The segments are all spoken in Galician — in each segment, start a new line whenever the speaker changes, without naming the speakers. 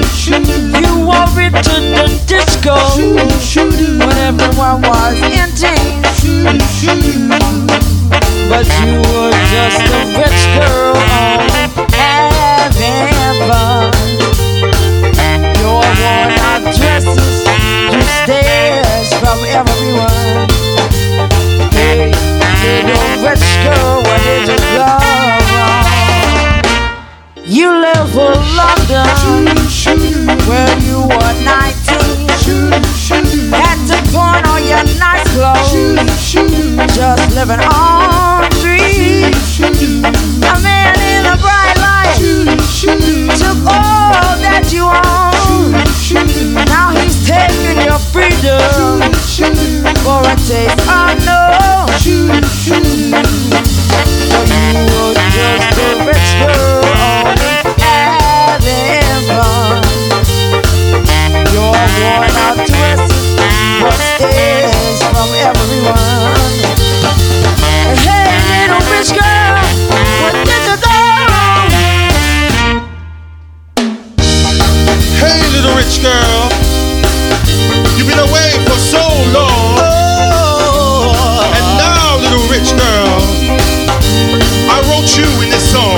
You wore it to the disco when everyone was in teens. But you were just a rich girl having fun. Your worn out dresses, you stares from everyone. Hey, little rich girl, what did you go wrong? You live for London when you were 19. Had to pawn all your nice clothes, just living on dreams. A man in a bright light took all that you own. Now he's taking your freedom for a taste unknown. For you were just a rich girl having fun. Your worn out dress was stares from everyone. Hey, little rich girl, what did you go wrong?
Hey, little rich girl, you've been away for so long. And now, little rich girl, I wrote you in this song.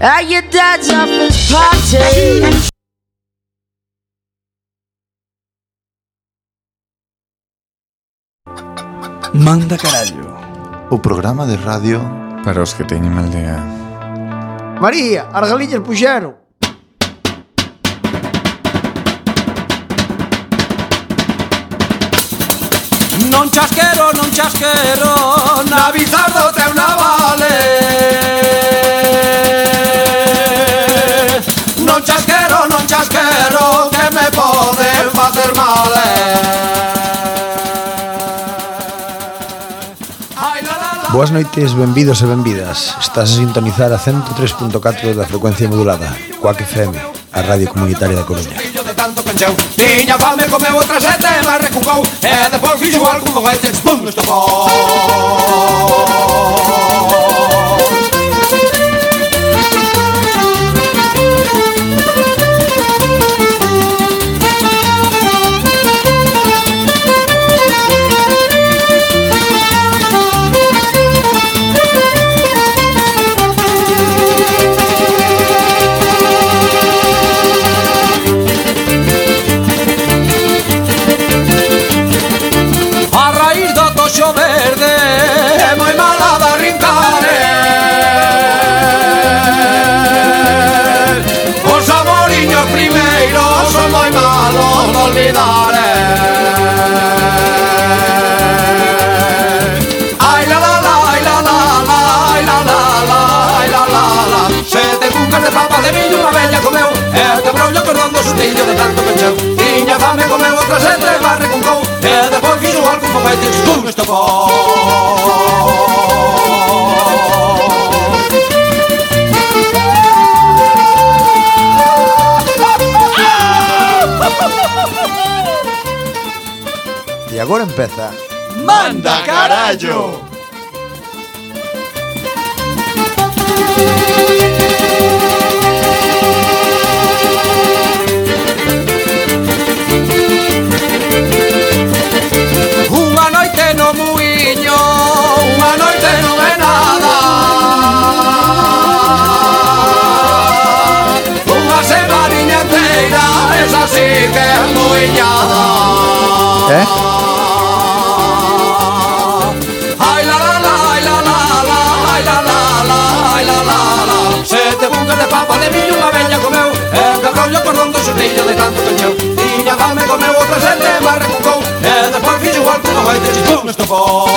At your dad's office party.
Manda carallo.
O programa de radio
Para os que teñen mal día.
María, as galiñas puxeron.
Non chasquero, non chasquero Na bizardo te una vale Non chasquero, non chasquero Que me poden facer mal eh. Ai, la, la, la.
Boas noites, benvidos e benvidas. Estás a sintonizar a 103.4 da frecuencia modulada, Coac FM, a radio comunitaria da Coruña.
Fillo de tanto pencheu Tiña fame, comeu outra sete, mas recucou E depois fixo algún goete, pum, estopou A raíz do toxo verde É moi mala da rincare Os amoriños primeiros Son moi malos de olvidar eh. Ai la la la, ai la la la Ai la la la, ai la la la Sete cucas de papa de millo unha bella comeu E te brollo cordón do sustillo de tanto pencheu Tiña fame comeu outra sete Mas recuncou E depois fixo algún foguete Pum, estopou
E agora empeza
Manda carallo Unha noite no muiño Unha noite non é nada Unha semaninha inteira Esa sí que é muiñada
Eh?
Ai la la la, ai la la la, ai la la la, ai la la la. Sete bucas de papa de millo unha bella comeu, e cabrón yo cordón do seu nuestro pop.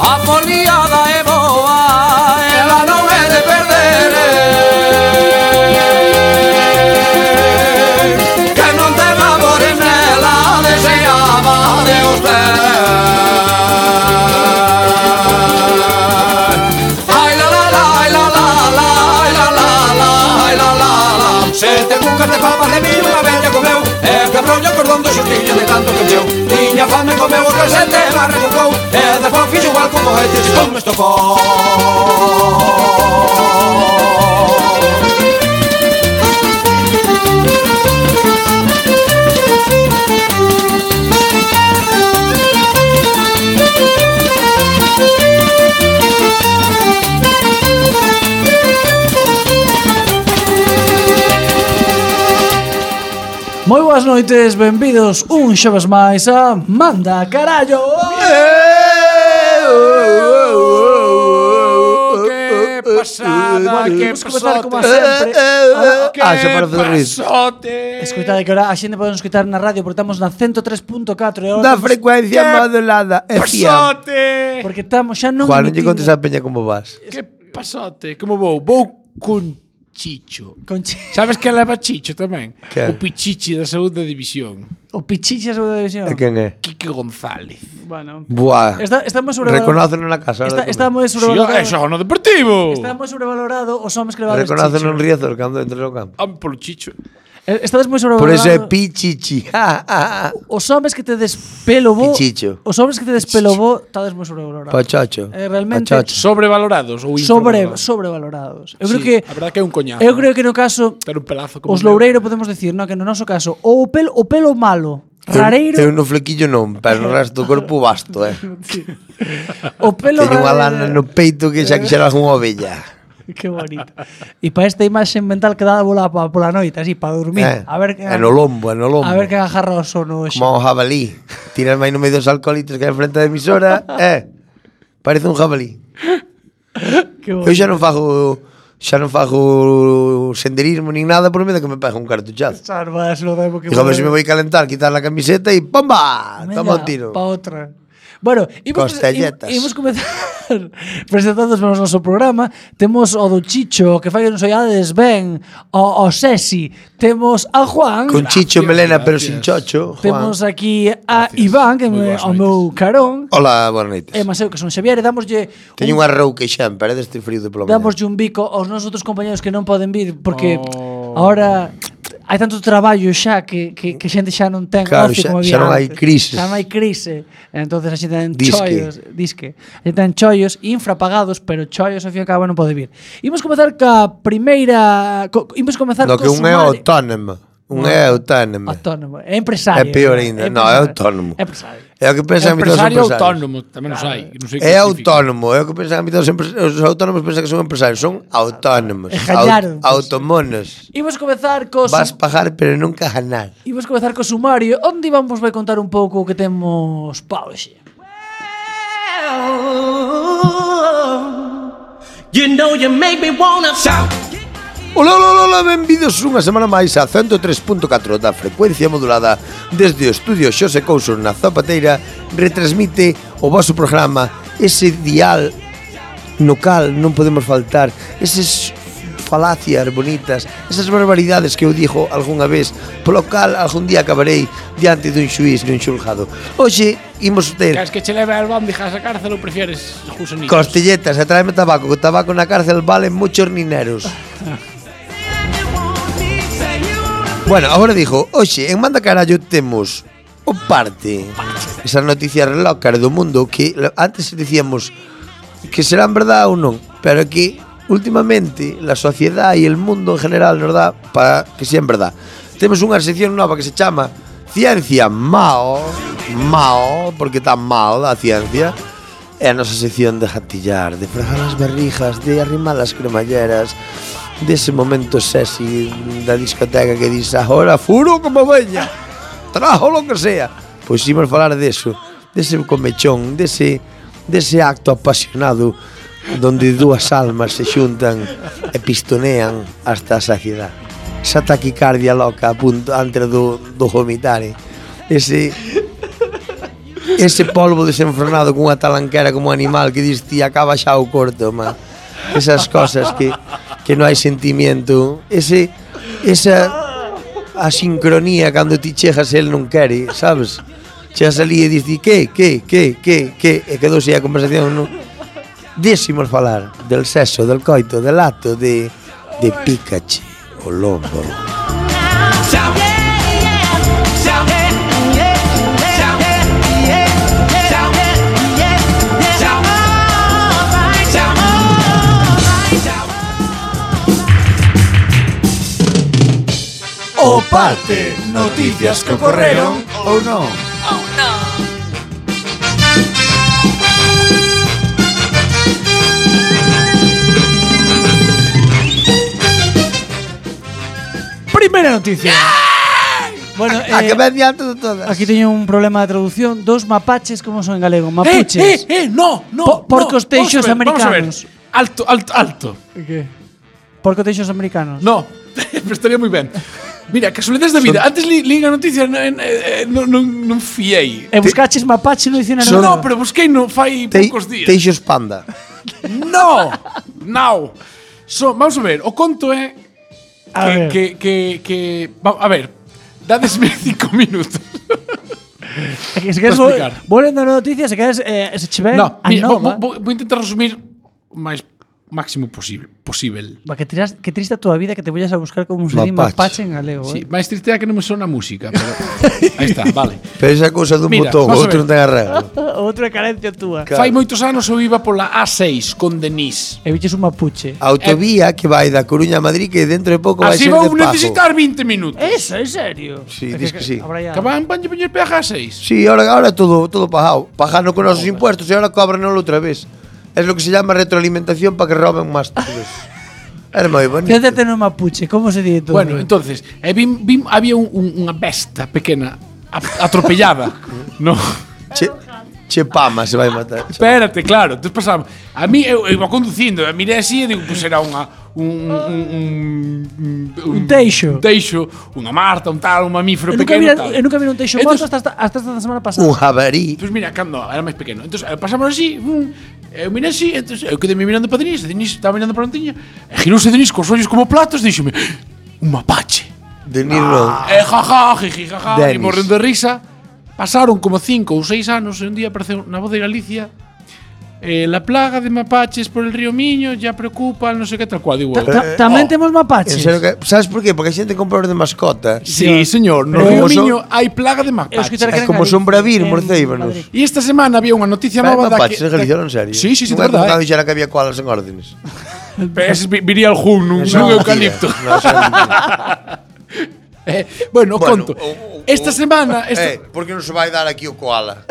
A foliada e boa, ela non é de perder Que non te labores nela, deseaba de usted Ai la la la, ai la la la, ai la la la, ai la la la Sete cucas de papas de mil unha bella comeu E quebrou o cordón do xustillo de tanto que encheu Tiña fame comeu o que se te barra cucou E despois fixo igual co cohete se come estocou
Moi boas noites, benvidos un xoves máis a Manda Carallo
Oh,
Que
oh,
pasada, que
Vamos comezar como a
pasote
sempre
Que
Ah, se parece de Riz.
pasote
Escoitade que ahora a xente podemos escoitar na radio Porque estamos na 103.4 e ahora
Da
estamos-
frecuencia
¿Qué?
modulada. É fiam.
Pasote
Porque estamos xa non
Juan, non lle
emitindo-
contes a peña como vas.
Que pasote Como vou? Vou cun chicho
Con chi-
Sabes que leva chicho tamén?
Que?
O pichichi da segunda división
O pichichas da división
E quen é?
Quique González
Bueno
Buah.
Está, estamos sobrevalorados
Reconóceno na casa.
Está, estamos
Si, ah, é
sobrevalorados
xa no deportivo
Estamos sobrevalorados os homens que levades
Reconóceno en
chicho
Riazor cando entres ao campo.
Ah,
Home polo chicho
Eh, Estades moi
Por
sobrevalorados
eso é pichichi. Ah, Ja, ja, ja.
Os homens que te despelo bo
Pichicho.
Os homens que te despelo bo Estades moi sobrevalorados
Pachacho.
Eh, realmente-
Pachacho.
Sobrevalorados ou
sobre
infravalorados?
sobrevalorados. Eu
Sí,
creo que
a verdade que é un coñazo.
Eu creo que no caso
Ter un pelazo como
os
un
loureiro podemos decir, no, que no noso caso o pelo o pelo malo, rareiro,
Eu, eu no flequillo non, pero no resto do corpo basto, eh.
o pelo
Teño unha lana
rareiro.
no peito que xa quixera algunha ovella.
Que bonito. E para esta imaxe mental que dá pola pa- pola noite, así para dormir,
Eh,
a ver que
é no lombo, é no lombo.
A ver que agarra o sono hoxe.
Como un jabalí. Tiras máis no medio dos alcoholitos que hai frente da emisora, eh. Parece un jabalí.
Que
Eu
bonito.
xa non fago xa non fago senderismo nin nada por medo que me pegue un cartuchazo.
Charvas, lo debo que
Digo, a ver se me vou a calentar, quitar la camiseta e ¡pumba!
Venga,
Toma un tiro.
Pa outra. Bueno, imos,
Costelletas.
imos comezar presentando o noso programa. Temos o do Chicho, que fai que nos oiades ben, o, o Sesi. Temos a Juan.
Con chicho e melena pero sin
gracias.
chocho, Juan.
Temos aquí a Iván, que
Moi
é
boas
o meu carón.
Hola, boas noites.
E Maseu, que son Xavier, e dámoslle
Oh. Teño
un,
unha rouca xa, en parede este eh, frío de plomo.
dámoslle un bico aos nosos outros compañeros que non poden vir, porque ahora hai tanto traballo xa que, que, que xente xa non ten
Claro,
ocio
xa-
como
xa
había
non hai
antes.
crises.
Xa non hai crise. Entonces a xente ten
Disque.
choios, disque. A xente ten choios infrapagados, pero choios ao fin e ao cabo non pode vir. Imos comezar ca primeira... Co, imos comezar
No que
co
un é
sumario-
autónomo. Un é
Ah.
autónomo.
Autónomo, é empresario.
É peor ainda. Non, é autónomo.
É empresario.
É o que pensan mitad dos
Empresario
empresarios.
autónomo Tamén os hai non sei que
É
significa.
autónomo, é o que pensan mitad dos empresarios. Os autónomos pensan que son empresarios, son autónomos.
E jallaron.
Aut- automonos.
Imos comezar co... sum-
Vas pagar pero nunca ganar.
Imos comezar co sumario onde Iván vos vai contar un pouco o que temos pa hoxe.
You know you make me wanna shout.
Ola, ola, ola, benvidos unha semana máis a 103.4 da frecuencia modulada desde o estudio Xose Couso na Zapateira retransmite o vosso programa ese dial no cal non podemos faltar eses falacias bonitas esas barbaridades que eu dixo algunha vez polo cal algún día acabarei diante dun xuiz dun xulgado hoxe imos ter
Queres que che leve albóndigas á cárcel ou prefieres jusanitos?
costelletas e tráeme tabaco que o tabaco na cárcel vale moitos nineros Bueno, agora dijo, oxe, en Manda Carallo temos o parte Esas noticias relócaras do mundo que la- antes decíamos que serán verdad ou non Pero que últimamente la sociedad e el mundo en general nos dá para que sean verdad Temos unha sección nova que se chama Ciencia Mao Mao, porque está mal a ciencia É a nosa sección de jatillar, de fregar as berrijas, de arrimar as cremalleras, dese momento sexy da discoteca que dis ahora furo como veña, trajo lo que sea. Pois imos falar deso, dese comechón, dese, dese acto apasionado donde dúas almas se xuntan e pistonean hasta a saciedade. Esa taquicardia loca a punto antes do, do vomitare. Ese, ese polvo desenfrenado cunha talanquera como animal que dis ti acaba xa o corto, ma. Esas cosas que que non hai sentimiento, ese esa asincronía cando ti chegas e el non quere, sabes? Chegas ali e dis ti que, que, que, que, que, e quedouse aí a conversación non Décimos falar del sexo, del coito, del acto, de, de Pikachu, o lobo.
O parte, noticias que ocorreron ou non.
Primeira noticia. Bueno,
eh,
eh,
A que ven diante de todas.
Aquí teño un problema de traducción. Dos mapaches, como son en galego?
¡Eh,
Mapuches.
eh, eh! ¡No, no!
Po-
no. Vamos
porcos
a
teixos
ver, vamos a ver.
americanos.
Alto, alto, alto.
¿Qué? Porco teixos americanos.
No, pero estaría moi ben. Mira, casualidades da vida. Antes li, li a noticia non, eh, eh, non, non, non fiei.
E buscaches mapache e non dicen
No,
nada.
no, pero busquei no fai
Te,
poucos días.
teixos panda.
No, no. So, vamos a ver, o conto é que,
A ver.
que, que, que, va- a ver, dadesme cinco minutos.
Eh, É que se queres
Vou
vol
explicar.
volvendo a noticia, se queres eh, se che ven
no,
a
mira, vou,
nova.
vou, vou intentar resumir o máis máximo posible. posible.
Va, que, tiras, que triste a tua vida que te vayas a buscar como se di
Mapache.
mapache en galego.
Sí,
eh.
máis triste é que non me sona a música, pero aí está, vale.
Pero esa cousa dun
Mira,
botón,
vamos a ver.
outro non ten arreglo.
Outra carencia túa.
Claro.
Fai moitos anos eu iba pola A6 con Denise.
E biches un mapuche.
Ah.
A autovía que vai da Coruña a Madrid que dentro de pouco vai
Así
ser de
vou
pago.
necesitar 20 minutos.
Eso, en serio.
Sí,
É
dis que sí.
Habrá ya-
Acaban van poñer peaje a 6.
Sí, ahora, ahora todo, todo pagado. Pagando con nosos impuestos e ahora cobranoslo outra vez. Es lo que se llama retroalimentación para que roben máis todos. Era moi bonito.
Céntate no mapuche, como se di todo?
Bueno, entonces, eh, vim, vim, había un, un, unha besta pequena a- atropellada. no.
Che, che pama se vai matar.
Espérate, claro, entonces pasaba. A mí eu, eu iba conducindo, e mirei así e digo, pues era unha un un un un,
Un teixo.
Un teixo, unha marta, un tal, un mamífero
Eu nunca,
pequeno
vi,
tal.
eu nunca vi un teixo
Entonces-
morto hasta, hasta, hasta esta semana pasada.
Un jabarí.
Pois mira, cando era máis pequeno. Entón, eh, pasamos así, mm, eu mirei así, entón, eu quedei mirando para Denise, Denise estaba mirando para a Antiña, e girouse Denise cos ollos como platos, e díxome, un mapache.
De Niro.
E jaja, jiji, jaja, e
Dennis.
morrendo de risa. Pasaron como cinco ou seis anos e un día apareceu na voz de Galicia eh, la plaga de mapaches por el río Miño ya preocupa, non sei que tal cual. Digo,
Ta- ta- Tamén
eh,
temos
oh, En
mapaches.
serio que, sabes por qué? Porque a xente compra os de mascota.
sí, señor, no
Pero
río
como son-
Miño hai plaga de mapaches.
É como son bravir, morcéibanos.
E esta semana había unha noticia
Vai
nova da
mapaches
que... eh,
en Galicia, non serio.
Sí, sí, eh. sí, de
Non é como
verdade.
cando dixera que había koalas en órdenes.
Pes, vi- viría el jun, un,
Eso é
un
mentira.
eucalipto.
Non, eso é mentira.
Eh, bueno,
Bueno,
conto.
o- o-
esta
o-
semana... Esta,
Eh, por que non se vai dar aquí o koala?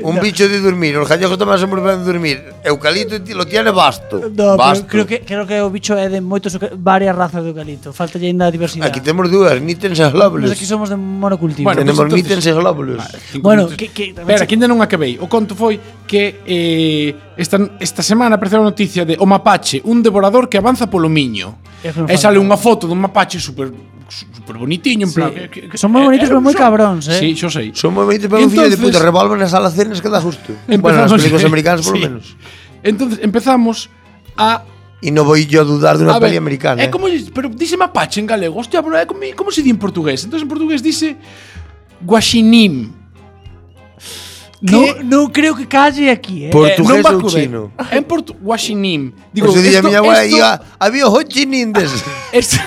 Un bicho de dormir, os gallego tamén son moi ben de dormir. Eucalipto ti- lo tiene basto.
No, pero
basto.
creo que creo que o bicho é de moitos euca- varias razas de eucalipto. Falta ainda a diversidade.
Aquí temos dúas, nitens e glóbulos.
Nós aquí somos de monocultivo.
Bueno,
Tenemos
Pues entonces-
nitens e glóbulos.
Cinco
Bueno,
minutos.
que- que-
Espera, que ainda non acabei. O conto foi que eh, esta, esta semana apareceu a noticia de O Mapache, un devorador que avanza polo miño.
É que non
E
falta.
sale unha foto dun mapache super su- super bonitinho, en
Sí.
plan... que- que-
Son moi
eh,
bonitos,
eh,
pero moi
son-
cabróns, eh.
Sí, xo sei.
Son moi bonitos, pero un fillo de
Entonces-
puta revolven as alacenas que dá justo. Bueno, nas películas americanas, por lo
Sí.
menos.
Entonces, empezamos a...
E non vou yo a dudar
a
dunha
ver,
peli americana.
É
eh.
como, pero dice mapache en galego. Hostia, pero é como, como se di en portugués? Entonces, en portugués dice... Guaxinim.
no,
que-
no creo que calle aquí, eh.
non
Portugués
va
ou
acudir.
chino?
En portu... Guaxinim.
Digo, Ese día a
esto-
miña abuela
esto-
iba, había o Ho Chi Minh des.
esto-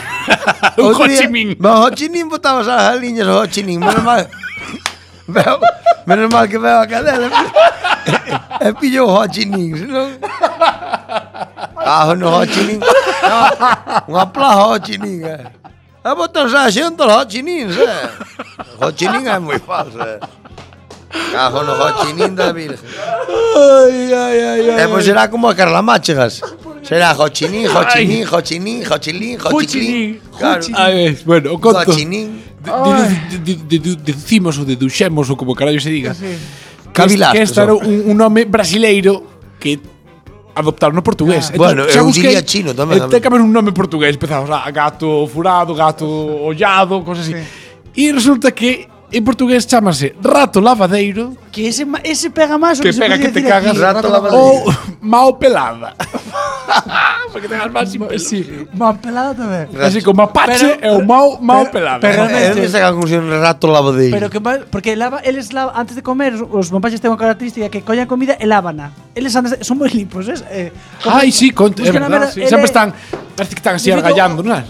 un Ho Chi Minh.
Mas o Ho Chi Minh botabas as galiñas o Ho Chi Minh, menos mal. Veo, menos mal que veo a cadela. E pillo o Ho Chi Minh, senón... Ah, no Ho Chi Minh. Ah, Un aplauso ao Ho Chi Minh, eh. E botas a xente ao Ho Chi Minh, se. Ho Chi Minh é moi falso, eh. Cajo no Jochinín da Virgen.
Ay, ay, ay, ay.
Eh, pues será como a Carla Máchegas. Será Jochinín, Jochinín, Jochinín, Jochilín, Jochilín.
Jochinín,
Claro.
Jochinín.
A ver, bueno, o conto.
Jochinín.
De- de- de- de- Deducimos ou deduxemos ou como carallo se diga. Que, es-
Cavilaste,
que este era
só.
un, un nome brasileiro que adoptaron no portugués.
Ah. Bueno, eu diría chino tamén,
Eh,
a
ten
mí.
que haber un nome portugués. Empezamos a gato furado, gato ollado, cosas así. E resulta que en portugués chamase rato lavadeiro
Que ese, ma- ese pega más o
Que
se
pega
podía
que te
decir aquí.
cagas. ou
Rato lavadero.
mao pelada. Para que tengas máis sin pelo.
Sí, más pelado tamén.
Así como mapache e o mao, mao pelada.
pero- pero-
Eh, ¿Dónde saca a conclusión rato lavadillo?
Pero que ma- porque lava, eles lava, antes de comer os mapaches ten unha característica que collan comida e lávana. Eles antes de- son moi limpos, es? Eh, comen-
Ai, sí, conto, es
Buscan a
verdad,
ver-
sí.
ele-
Sempre están, parece que están así
Yo creo que
argallando, non é?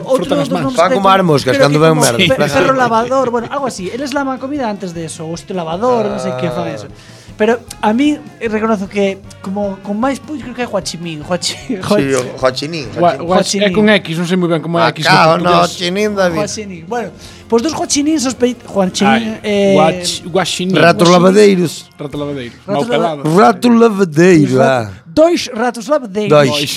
Sí,
outro
frotan as
dos
mans.
nomes
Fan
que
como
ten-
armoscas
pero
cando
que
ven
como
merda.
pe-
Sí.
Perro lavador, bueno, algo así. Eles lavan comida antes de eso, o este lavador, non sei que fan eso. Pero a mí eh, reconozo que como con máis push creo que é Joachimín, Joachi,
Sí,
Joachi,
o Jochinín.
Gua-
Jochinín.
gua-
Joachinín.
É con X, non sei moi ben como é X. no
Macao, Ah, no,
portugués.
Jochinín, David.
Joachinín. Bueno, pois dos Joachinín sospeit
Ai,
Joachinín eh
guach- Guaxinim.
Rato lavadeiros.
Rato lavadeiro.
Rato
Mal pelado.
Rato lavadeiro. ah.
Dois ratos lavadeiros.
Dois.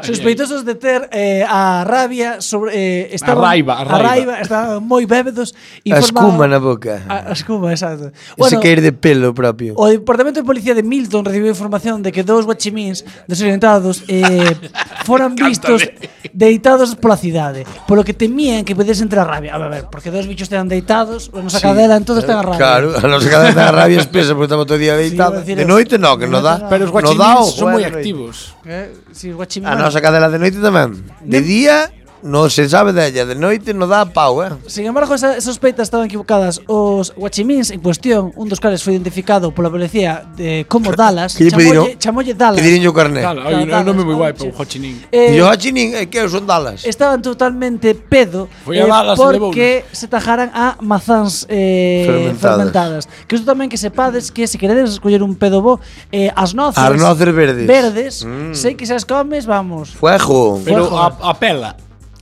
Sospeitosos de ter eh, a rabia sobre eh, estaban,
A raiva, a raiva.
estaban moi bébedos
A escuma
informaban-
na boca.
a, a escuma, exacto.
Ah. Ese caer de pelo propio.
Ah, O Departamento de Policía de Milton recibiu información de que dous guachimíns desorientados eh, foran vistos deitados pola cidade, polo que temían que pudesen ter a rabia. A ver, porque dous bichos tean deitados, vamos a cadela, entonces ten a rabia.
Claro, a nosa cadena da rabia espesa porque estamos todo o día deitados.
decir,
de
os-
noite no, que
de
no
noite
dá.
no.
Pero os
No
guaxinins
dá o
son moi
juego.
activos.
Eh, si, os guachimíns...
A nosa cadela de noite tamén. De día non se sabe della, de noite non dá pau, eh.
Sin embargo, esas sospeitas estaban equivocadas. Os guachimins en cuestión, un dos cales foi identificado pola policía de como Dallas,
que lle
chamolle,
pediron?
chamolle Dallas.
Que dirin o carné.
Claro, hai un- hai un nome moi guai para un Joachinín.
E
Eh,
o Hachinin, é que eu son Dallas.
estaban totalmente pedo
Foi
eh,
a Dallas,
porque se tajaran a mazans eh, fermentadas.
Fermentadas.
Que isto tamén que sepades que se queredes escoller un pedo bo, eh, as noces,
As noces verdes. Mm.
verdes sei que se as comes, vamos.
Fuego.
Pero
Fuego.
a, a pela.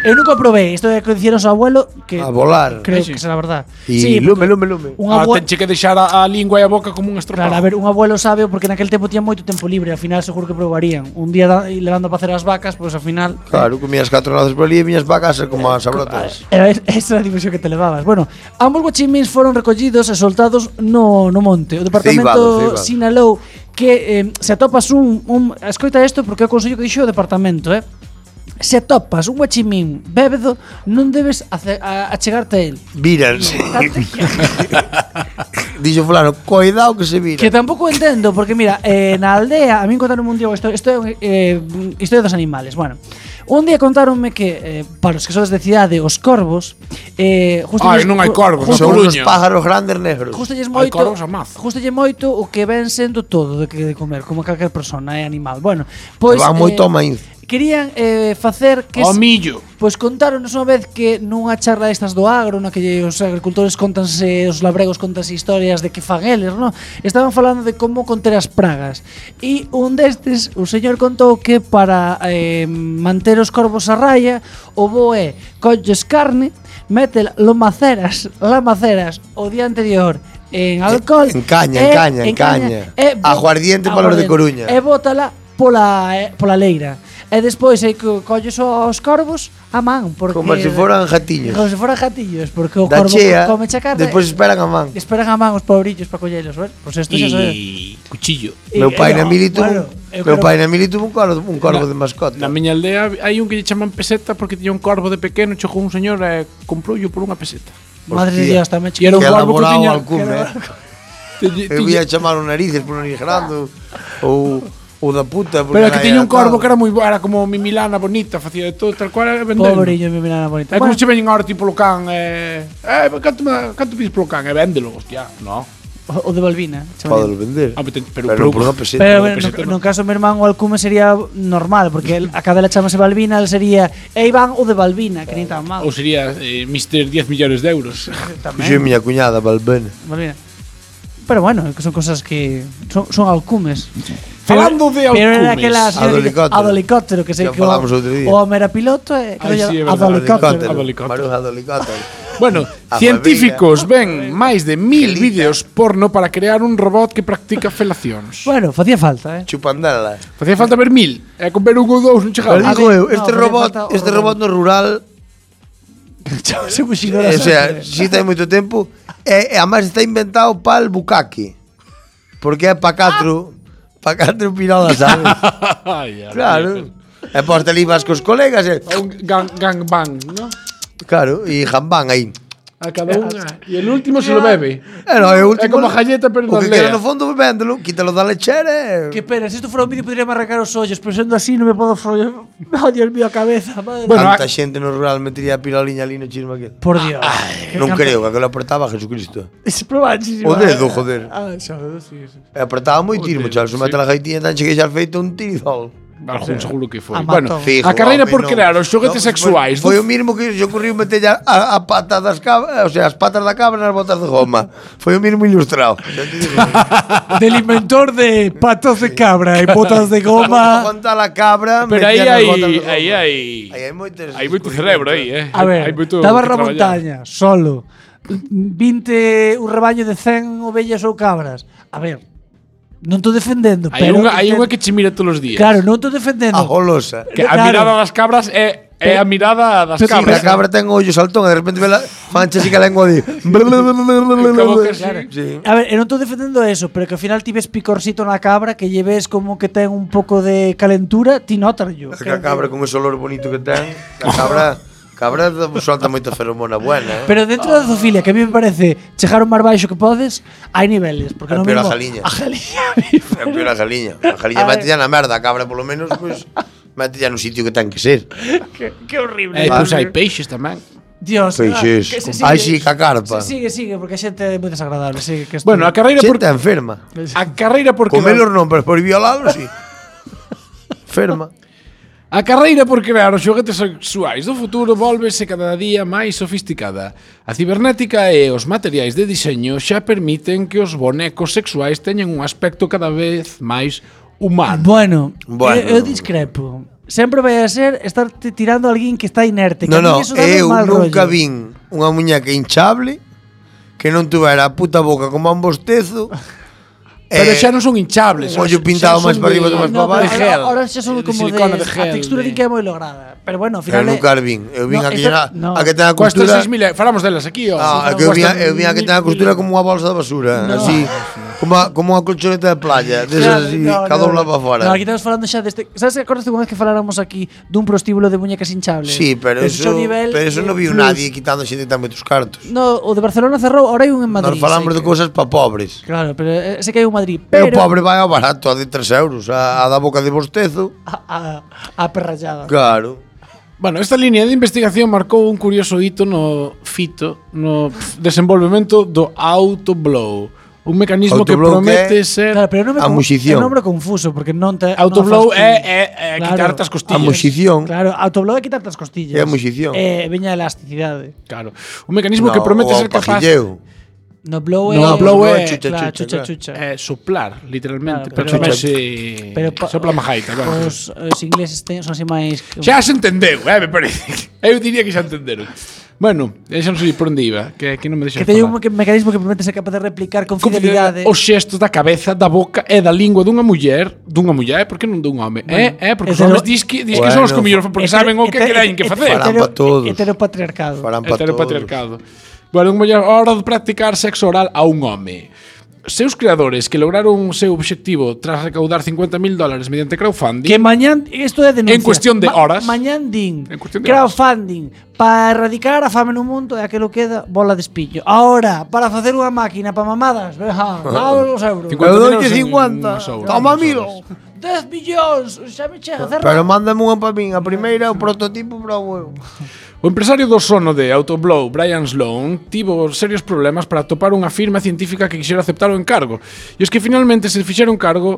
Eu nunca probei isto é que hicieron su abuelo que
a volar.
Ah,
creo
sí.
que será verdad.
Y
sí,
lume, lume, lume.
un
Ah,
abuelo
tenche que deixar a, a lingua e a boca como un estropajo.
Claro, a ver, un abuelo sabe porque naquel tempo tiña moito tempo libre, al final seguro que probarían. Un día da- levando a pacer as vacas, pois ao final
Claro, comías catro noces por ali e viñas para casa como as abrotas.
Era es- esa era a dimensión que te levabas. Bueno, ambos guachimins foron recollidos e soltados no, no monte.
Ceibado,
O departamento
ceibado.
sinalou que eh, se atopas un, un... Escoita isto porque é o consello que dixo o departamento, eh? Se atopas un guachimín bébedo, non debes ace- a, achegarte a él.
Víranse. Dixo fulano, cuidado que se vira.
Que tampouco entendo, porque mira, eh, na aldea, a min contaron un día isto, isto é un, eh, historia dos animales, bueno. Un día contáronme que, eh, para os que sodes de cidade, os corvos... Eh, justo
Ai,
lles-
non hai
ju-
corvos,
justo-
Son unos
Coruña.
pájaros grandes negros.
Gústalles
Hai
moito,
corvos a mazo.
gústalles moito o que ven sendo todo de que de comer, como calquer persona, é animal. Bueno,
Pois,
pois
van moito ao maíz.
Querían eh, facer que
O
s-
Oh, millo.
Pois contáronos unha vez que nunha charla destas do agro, na que lle- os agricultores contanse, os labregos contanse historias de que fan eles, non? Estaban falando de como conter as pragas. E un destes, o señor contou que para eh, manter os corvos a raya, o bo é colles carne, mete lo maceras, la maceras o día anterior en alcohol.
En caña,
e-
en caña, en caña.
e bo-
Aguardiente para os de Coruña.
E bótala pola, eh, pola leira. E despois hai que colles os corvos a man, porque
Como se foran jatiños.
Como se foran gatillos, porque o
Da
corvo
chea,
come chacarra.
despois esperan a man.
esperan a man os pobrillos para collelos, ver? Pois isto xa sabe.
E cuchillo.
Meu
E-
pai na
no,
mili tuvo,
eh, claro, eu
meu
creo-
pai na mili tuvo un corvo, un corvo de mascota.
Na miña aldea hai un que lle chaman peseta porque tiña un corvo de pequeno, chegou un señor e comproulle por unha peseta.
Madre de
Hostia.
Dios, tamén
E era un corvo
que
que
elaborado
tiña-
al cume. eh.
Tiñe-
Eu
tiñe-
ia chamar o narices por nariz grande ou ou da puta porque
Pero é que
era
tiña un corvo
atado.
que era moi bo, era como mi milana bonita, facía de todo, tal cual, era vendendo.
Pobrillo, mi mirada
É
bonita.
como
Bueno,
se veñen ahora tipo polo can, eh, eh, canto, me- canto pides polo can, e véndelo, hostia, no.
O, o de Balbina.
Podelo vender.
Ah, pero, pero,
Pero por unha peseta.
no
Pero bueno,
peseta,
no,
no.
no caso do meu irmán o Alcume sería normal, porque el, a cadela chamase Balbina, el sería e Iván o de Balbina, que nin tan mal.
Ou sería eh, Mr. 10 millóns de euros.
Yo e miña cuñada, Balbena.
Balbina. Pues Pero bueno, que son cosas que son, son alcumes.
Falando de
Pero era
alcumes.
aquelas
A do helicóptero.
a do helicóptero, que sei
Ya
que o,
falamos outro día.
o home era piloto e que
Ai, sí, é
era a
verdade,
do
helicóptero.
helicóptero.
helicóptero.
Maruja do helicóptero.
Bueno,
A
científicos ven máis de mil vídeos porno para crear un robot que practica felacións.
Bueno, facía falta, eh.
Chupandala.
Facía falta ver mil. E con ver un ou dous non
Pero
chegaba.
Ah,
digo eu,
ver, no,
este
pero
robot,
falta o
este
robot.
robot no rural,
Ah,
Chamase
eh,
Muxidora
o sea,
Sastre.
si ten moito tempo, e, e eh, además está inventado pa'l bucaque. Porque é pa catro, pa catro pirolas, sabes?
Ai, a
Claro. E pois te libas cos colegas,
ver.
e,
Un gang, gang bang, ¿no?
claro, e jambán aí.
A cada unha. E el último se lo bebe.
E no, é o
É
último.
como a galleta, pero
o
non
que queda
lea.
no fondo bebéndolo, quítalo da lechera. eh.
Que
e-
pena, se isto fora un vídeo podría arrancar os ollos, pero sendo así non me podo follar. Oh, Dios mío, a cabeza, madre.
Bueno, ah. a-
Tanta xente no rural metería a piroliña ali no chisme aquel.
Por Dios.
Ah, Non creo que aquilo apertaba a Jesucristo.
Se probáis.
O dedo, joder.
Ah, xa, o dedo, sí, sí.
E apertaba moi tirmo,
dedo,
chaval. Se mete
sí.
a gaitinha tan cheguei xa feito un tirizol.
Algún seguro que foi.
A
Bueno,
matón.
Fijo,
a carreira por
home,
crear os xoguetes
Non,
sexuais.
Foi, foi o mínimo que se ocorriu meter a, a, a pata das cabras, o sea, as patas da cabra nas botas de goma. Foi o mínimo ilustrado. Xa te digo.
Del inventor de patas de cabra y botas de
Para
goma.
aguantar a cabra,
Pero aí
metían nas
hai
botas de goma.
aí hai
Aí hai moitas
hai moito cerebro aí, eh.
A ver, estaba na montaña, solo. 20, un rebaño de 100 ovellas ou cabras. A ver, non estou defendendo,
Hai
pero...
unha hai
inten-
unha que che mira todos os días.
Claro, non estou
A
defendendo.
Ah, golosa.
Que a
Claro.
mirada das cabras é é a mirada das
Sí,
cabras.
a cabra ten o ollo saltón e de repente vela mancha así que a lengua di.
Como que sí.
Sí.
A ver, eu non estou defendendo eso, pero que ao final ti ves picorcito na cabra, que lleves como que ten un pouco de calentura, ti notas yo.
Que a cabra con ese olor bonito que ten, que a cabra cabra solta moita feromona buena, eh.
Pero dentro da zoofilia, que a mí me parece chejar o máis baixo que podes, hai niveles.
É
Porque non
peor a saliña.
mesmo- A jaliña. a mí
É peor a saliña. A saliña
A ver.
mete ya na merda, a cabra polo menos, pois, mete ya no sitio que ten que ser.
Eh, pois hai peixes tamén.
Dios,
Peixes.
ah, que se
Ai, sí,
sigue-
ca carpa.
se Sigue, sigue, porque a xente é moi desagradable. Sigue, que
Bueno, a carreira por
Xente enferma.
a carreira por
Comelos
crear,
non, pero por violalos, sí. Enferma.
a carreira por crear os xoguetes sexuais do futuro volvese cada día máis sofisticada. A cibernética e os materiais de diseño xa permiten que os bonecos sexuais teñan un aspecto cada vez máis humano.
bueno,
Bueno.
eu, eu discrepo. Sempre vai a ser estar tirando a alguén que está inerte. que
No,
a mí
no,
eso dame
eu
mal
nunca
rollo.
vin unha muñeca hinchable que non tuvera a puta boca como a un bostezo.
Pero
eh,
xa non son hinchables.
un ollo
xa- xa
pintado máis
son
para arriba
de-
e máis
No,
para
de
baixo.
pero
gel,
ahora, ahora xa son
de
como de,
silicona, de
a
gel,
textura
de-
din que é moi lograda. Pero bueno, ao
Eu
final é-
nunca as vin. Eu vin
No,
a que
esta-
era,
no.
a que ten a
Cuesta
costura.
6.000 Falamos delas aquí, ó.
Ah, a que eu vin, a- eu vin a que ten a costura como unha bolsa de basura, así, como a, como unha colchoneta de playa, desas así,
Claro,
cada un para fora.
No, aquí estamos falando xa deste... este- Sabes que acordaste unha vez que faláramos aquí dun prostíbulo de muñecas hinchables?
Sí, pero
Ese
eso,
xa o nivel
pero eso
de
non viu
plus.
nadie quitando xente tan moitos cartos.
No, o de Barcelona cerrou, ahora hai un en
Nós
Madrid.
falamos
sei
de
que-
cousas para pobres.
Claro, pero eh, sei que hai un Madrid,
Pero... E o
pero...
pobre vai ao barato, a de 3 euros, a, a da boca de bostezo.
A, a, a perrallada.
Claro.
Bueno, esta línea de investigación marcou un curioso hito no fito no pf, desenvolvemento do autoblow, un mecanismo que
Autoblow que
promete
é-
ser
Claro, pero non me
A
con-
muxición.
É un nombre confuso, porque non te...
autoblow
non
é,
fas
é, é
Claro.
quitarte as
A
eh, costillas.
moxición.
tú- Claro, autoblow é quitarte as costillas.
É a muxición.
Eh, veña a elasticidade.
Claro. Un mecanismo que promete
o
ser capaz de
pajilleo.
No blow é...
No, blow é-
chucha,
Chucha,
claro,
chucha,
chucha,
claro.
chucha.
eh, soplar, literalmente, pero,
Claro, pero-
tamén
pues,
se
Pero pa- pues,
sopla má gaita, bueno.
Os, os ingleses ten, son así máis...
Xa se entendeu, eh, me parece. Eu diría que xa entenderon. Bueno, eh, xa non sei por onde iba, que, que non me deixa
Que teñen un meca- mecanismo que permite ser capaz de replicar con eh. fidelidade.
Os xestos da cabeza, da boca e da lingua dunha muller, dunha muller, por que non dun home? Bueno, é, é, porque os
hetero-
homes dis que, dis que son os que
Bueno.
mellor fan, porque saben o que queren que facer.
Farán pa todos.
Heteropatriarcado.
Farán pa todos.
Heteropatriarcado. Bueno, unha muller hora de practicar sexo oral a un home. Seus creadores que lograron o seu obxectivo tras recaudar 50.000 dólares mediante crowdfunding
Que mañán, isto é
En
denuncia.
cuestión de horas.
mañán din
En cuestión de
crowdfunding para erradicar a fame no mundo e aquilo queda bola de espillo. Ahora, para facer unha máquina para mamadas, veja, dá os
50
euros.
Eu
euros
doy
en-
50.
nos euros,
Toma
nos
mil.
euros.
10 millóns, xa me chega, cerra.
Pero mándame unha para min, a primeira, o prototipo para o huevo.
O empresario do sono de Autoblow, Brian Sloan, tivo serios problemas para topar unha firma científica que quixera aceptar o encargo. E os que finalmente se fixeron cargo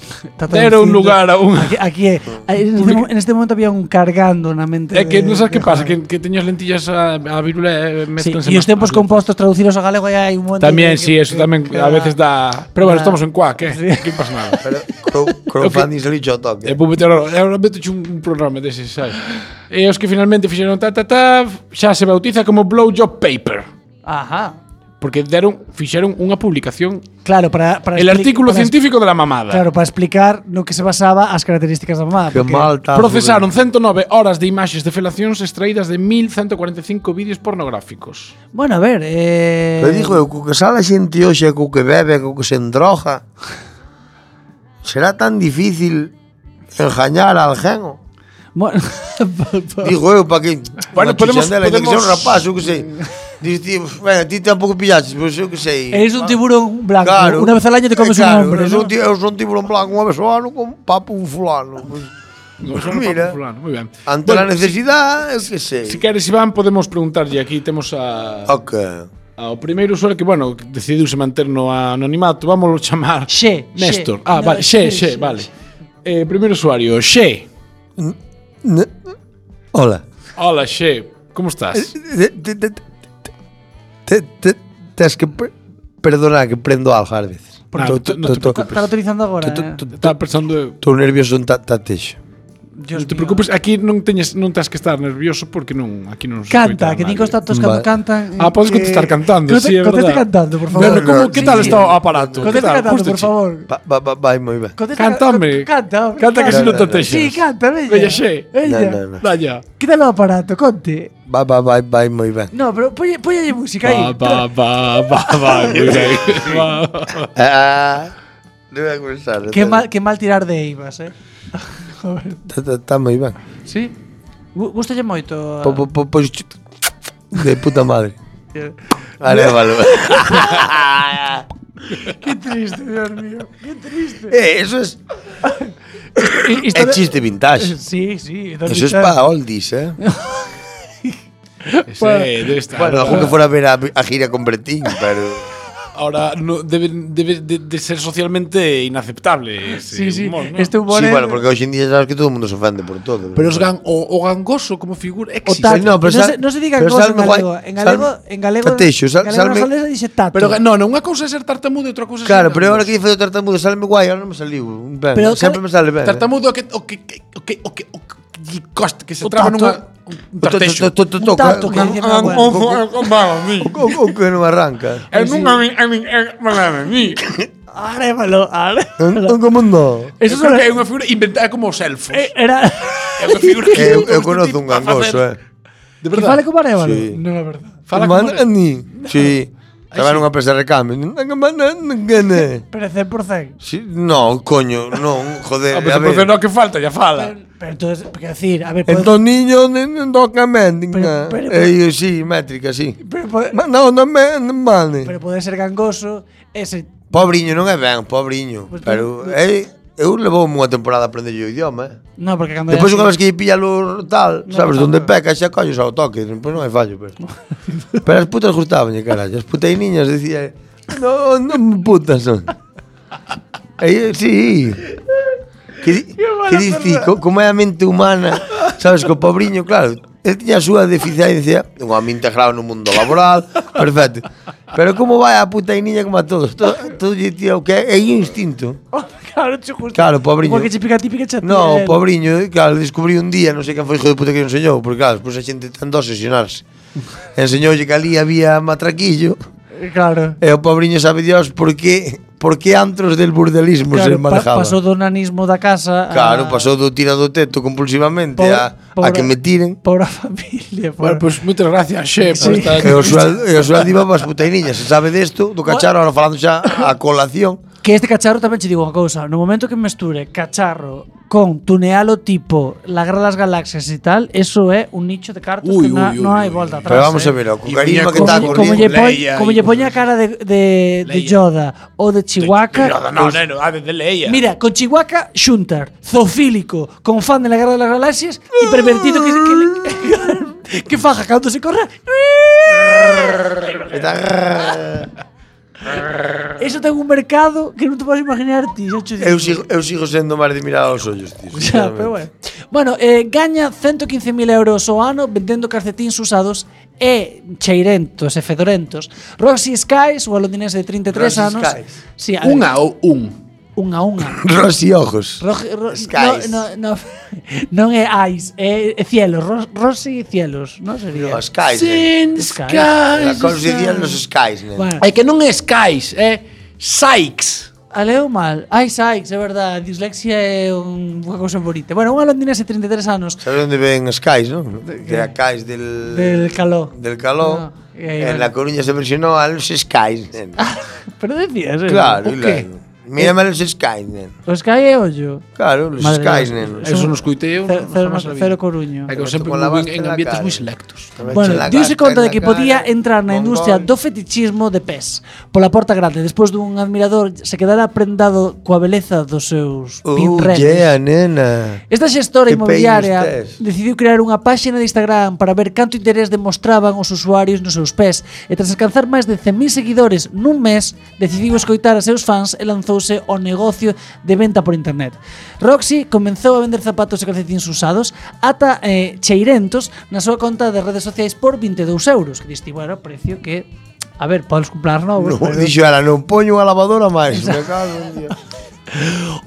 Está
deron
traducindo.
lugar a unha...
Aquí, aquí é. Aí, En este, mo- en este momento había un cargando na mente.
É Eh, que
de-
non sabes que
de
pasa,
Javi.
que, que teño as lentillas a, a virula e
Sí,
méstanse
e os
nas
tempos
manos.
compostos traduciros a galego ya hai un momento
Tamén,
que-
sí,
que-
eso tamén
que-
a veces dá... Pero bueno,
da-
estamos en cuac, eh? Aquí pasa nada.
Ah, Pero crow- crowdfunding saliu ao toque.
E vou meter agora, agora meto un, un programa deses, sabes? E os que finalmente fixeron ta ta ta, xa se bautiza como blowjob paper,
Ajá.
porque deron fixeron unha publicación,
Claro, para, para
el
expli-
artículo
para-
científico de la mamada.
Claro, para explicar no que se basaba as características da mamá.
Que
porque-
mal tá,
Procesaron 109 horas de imaxes de felacións extraídas de 1145 vídeos pornográficos.
Bueno, a ver, eh...
Le digo eu, co que sale a xente hoxe, co que bebe, co que se endroja, será tan difícil enjañar al gengo.
Bueno,
Digo eu, para que...
Bueno,
unha
podemos-
chichandela, e ten Que ser un
podemos-
rapaz, eu que sei. Dices, ti, bueno, ti tampouco pillaches, pero eu que sei.
eres un tiburón blanco.
Claro.
Una vez al año te comes
Eh, claro,
un
Eu
hombre. ¿no?
son, ti- eu son tiburón blanco unha vez ao ano con papo un fulano. pois. Pues, Mira.
Fulano, Muy ben.
ante
Bueno,
a necesidade, eu que sei.
Si queres, Iván, podemos preguntarlle aquí, temos a...
Ok.
Ao primeiro usuario que, bueno, que decidiuse manter no anonimato, vámoslo chamar
Xe,
Néstor.
xe.
Ah,
No,
vale, xe,
xe,
xe,
xe,
vale.
xe.
Eh, primeiro usuario, Xe.
Ne- Hola.
Hola, Xe, como estás?
Te- te- te- te- te- Tens que per- perdonar que prendo algo ás veces.
Por
Tô-
nada,
tô-
non te
tô- tô-
preocupes.
Están utilizando ahora.
tô-
eh.
tô- tô-
Estaba pensando...
Estou nervioso un ta- tatexo.
Dios
Non te
mío.
preocupes, aquí non teñes non tens que estar nervioso porque non aquí non se
Canta,
escoita
que
a
din
nadie.
que os tantos cando
Vale.
cantan.
Ah, podes contestar cantando, sí, é
eh, Contesta
verdad.
cantando, por favor.
Bueno, como, que tal
Sí,
está o
sí.
aparato? Que
Contesta
tal?
cantando, por
Gústache?
favor.
Va, va, va, vai moi ben.
Contesta-
Cántame.
Canta, hombre,
Canta que se non
No,
te
no, no.
texas.
Sí, canta, bella.
Bella, xe.
Bella.
No, no, no.
Dalla.
Que tal o aparato, conte.
Va, va, vai, vai moi ben.
No, pero polle, polle
Va,
música aí.
va, va, va, va. moi ben. Va, va.
Ah, debe comenzar.
Qué mal, qué mal tirar de Eivas, eh.
Está moi ben.
Ah.
Sí. Gustalle moito. a-
Po- po- po- Pois de puta madre. Vale, vale.
Qué triste, Dios mío. Qué triste.
eh, eso es é chiste vintage.
Sí, sí. Don
Eso es
Richard.
para oldies, eh.
Xe, debe estar.
Bueno, algo que fuera a ver a, a gira con Bretín, pero
Ahora no, debe, debe de, de ser socialmente inaceptable ese
Sí, sí.
humor, ¿no?
Este humor
Sí,
é-
bueno, porque hoxe en día sabes que todo o mundo se ofende por todo.
Pero os gan, o, o gangoso como figura existe.
Tato.
no, pero
non,
sal-
se, non se diga
pero
cosas en
salme guai-
galego. En galego,
salme-
en galego,
Ateixo, sal-
en galego
salme-
non sale dice tato.
Pero ga- no, non unha cousa é ser tartamudo e outra cousa é ser
Claro, pero
gangoso.
ahora que dice do tartamudo, salme guai, ahora non me saliu. Ben,
Pero
sempre
cal-
me sale ben. eh.
Tartamudo é o que o que o que o que o que lle costa que se
O
traba
tato.
nunha un tartexo.
Un tato que dice na web.
O que non arranca.
É nunha a min é malame mi.
Arémalo, arémalo.
Non como non.
Eso
Eso
creo que é
era...
unha figura inventada como os elfos. É
era
unha figura que
eh, Eu, eu
inventou este
conozco un
tipo a facer.
gangoso, eh.
De
que fale
verdade.
como arémalo.
Sí.
Non é verdade.
Fala como
Manda ni. Sí. Estaba nunha presa de recambio.
Pero 100%.
Sí, no, coño, non, joder,
Ah,
a
pero se
ver.
no que falta, ya fala.
Pero entonces, porque decir, a ver, pode-
Entón niño toca mendinga.
Pero- pero-
Eh, sí, métrica, sí.
pero, pode-
Ma- Non, non me, non mane.
pero pode ser gangoso ese
Pobriño non é ben, pobriño.
Pois
Pero
ben,
eh, eu levou unha temporada a aprender o idioma, eh.
No, porque cando
Depois
é
unha vez
así-
que lle pillalo tal,
Non,
sabes,
non,
donde
non.
peca xa collos ao toque, pois non hai fallo, pero. pero as putas gustabanlle, carallo, as putas niñas dicía, "No, non me putas son." Aí si. Que, di- que dici, co, como é a mente humana, sabes, co pobriño, claro, el tiña a súa deficiencia, unha me integrado no mundo laboral, perfecto. Pero como vai a puta e niña como a todos? Todo, todo lle tía o que é, é instinto.
Claro, che justo.
Claro, pobriño.
Porque che pica a típica chatea.
No, o pobriño, eh, claro, descubrí un día, non sei quen foi o hijo de puta que lle enseñou, porque claro, despois a xente tendo a obsesionarse. Enseñoulle que ali había matraquillo,
Eh, Claro.
e o pobriño sabe Dios por que, por que antros del burdelismo
Claro,
se manejaba.
pa- pasou do nanismo da casa a-
claro, pasou do tira do teto compulsivamente
Pobre-
a, a
pobre-
que me tiren. pues-
Por a familia.
Bueno,
Por...
pois moitas gracias, Xe, por
Sí.
esta
E o sueldo, e o sueldo iba para as putainiñas, se sabe desto, do cacharo, ahora falando xa a colación.
Que este cacharro tamén che digo unha cousa, no momento que mesture cacharro con tunealo tipo la guerra das galaxias e tal, eso é un nicho de cartos
Ui,
que na,
ui,
non
ui,
hai
ui.
volta atrás.
Pero vamos
eh.
a ver,
Y
o cucarismo
muñeco-
que está
Como, como, lle
ocurriendo.
pon,
Leia
como
y-
lle poña a cara de, de,
Leia.
de Yoda ou de Chihuahua,
no, no, no, a de Leia.
Mira, con Chihuahua, Shuntar, zoofílico, con fan de la Guerra de las Galaxias y pervertido que, que, que, que faja cuando se corra. Eso ten un mercado que non te podes imaginar ti. xa cho digo.
Eu sigo, eu sigo sendo máis de mirar aos ollos, tío.
Xa, pero bueno. Bueno, eh, gaña 115.000 euros o ano vendendo calcetíns usados e cheirentos e fedorentos. Roxy Skies, o londinense de 33
Rosie
anos.
Skies.
Sí, a ver,
Unha ou un.
Unha, unha.
Rosy ojos.
Roge- ro-
Skies.
No, no, no, non é ice, é é cielos, ro, rosy cielos, non sería.
Os skies,
Skies.
A concedian nos skies, né?
Bueno,
É que non é Skies, é Sykes.
a leo mal. Ice Ice, é verdade, dislexia é un, unha cousa bonita. Bueno, unha londinense de 33 anos
Sabes onde ven os skies, non? Que a skies del...
del caló.
Del caló.
No, e aí
en
van.
La Coruña se versionou a los skies, nen.
Pero decías, eh?
Claro, e
o qué?
logo. Mírame a los skies, nen.
O Sky é ollo.
Claro, los
Madre
skies,
mía.
nen.
Eso
Eso non escoitei eu.
Cero,
non
cero,
jamás sabía.
cero coruño.
É que eu
Pero
sempre
tú con la
vivo en,
basta
en
en la
ambientes
cara.
moi selectos.
Bueno,
Echa la
diuse
gata
conta
en la
de que
cara,
podía entrar na
mongol.
industria do fetichismo de pés pola porta grande despois dun admirador se quedara prendado coa beleza dos seus
Oh,
pinredes.
yeah, nena.
Esta
Que
xestora inmobiliaria
peinos tes.
decidiu crear unha páxina de Instagram para ver canto interés demostraban os usuarios nos seus pés e tras alcanzar máis de 100.000 seguidores nun mes decidiu escoitar a seus fans e lanzouse ao negocio de venta por internet. Roxy comenzou a vender zapatos e calcetins usados ata eh, cheirentos na súa conta de redes sociais por 22 euros que diste, bueno, precio que a ver, podes comprar
No,
novos, pero
dixo ela, non poño a lavadora máis. Me cago en Dios.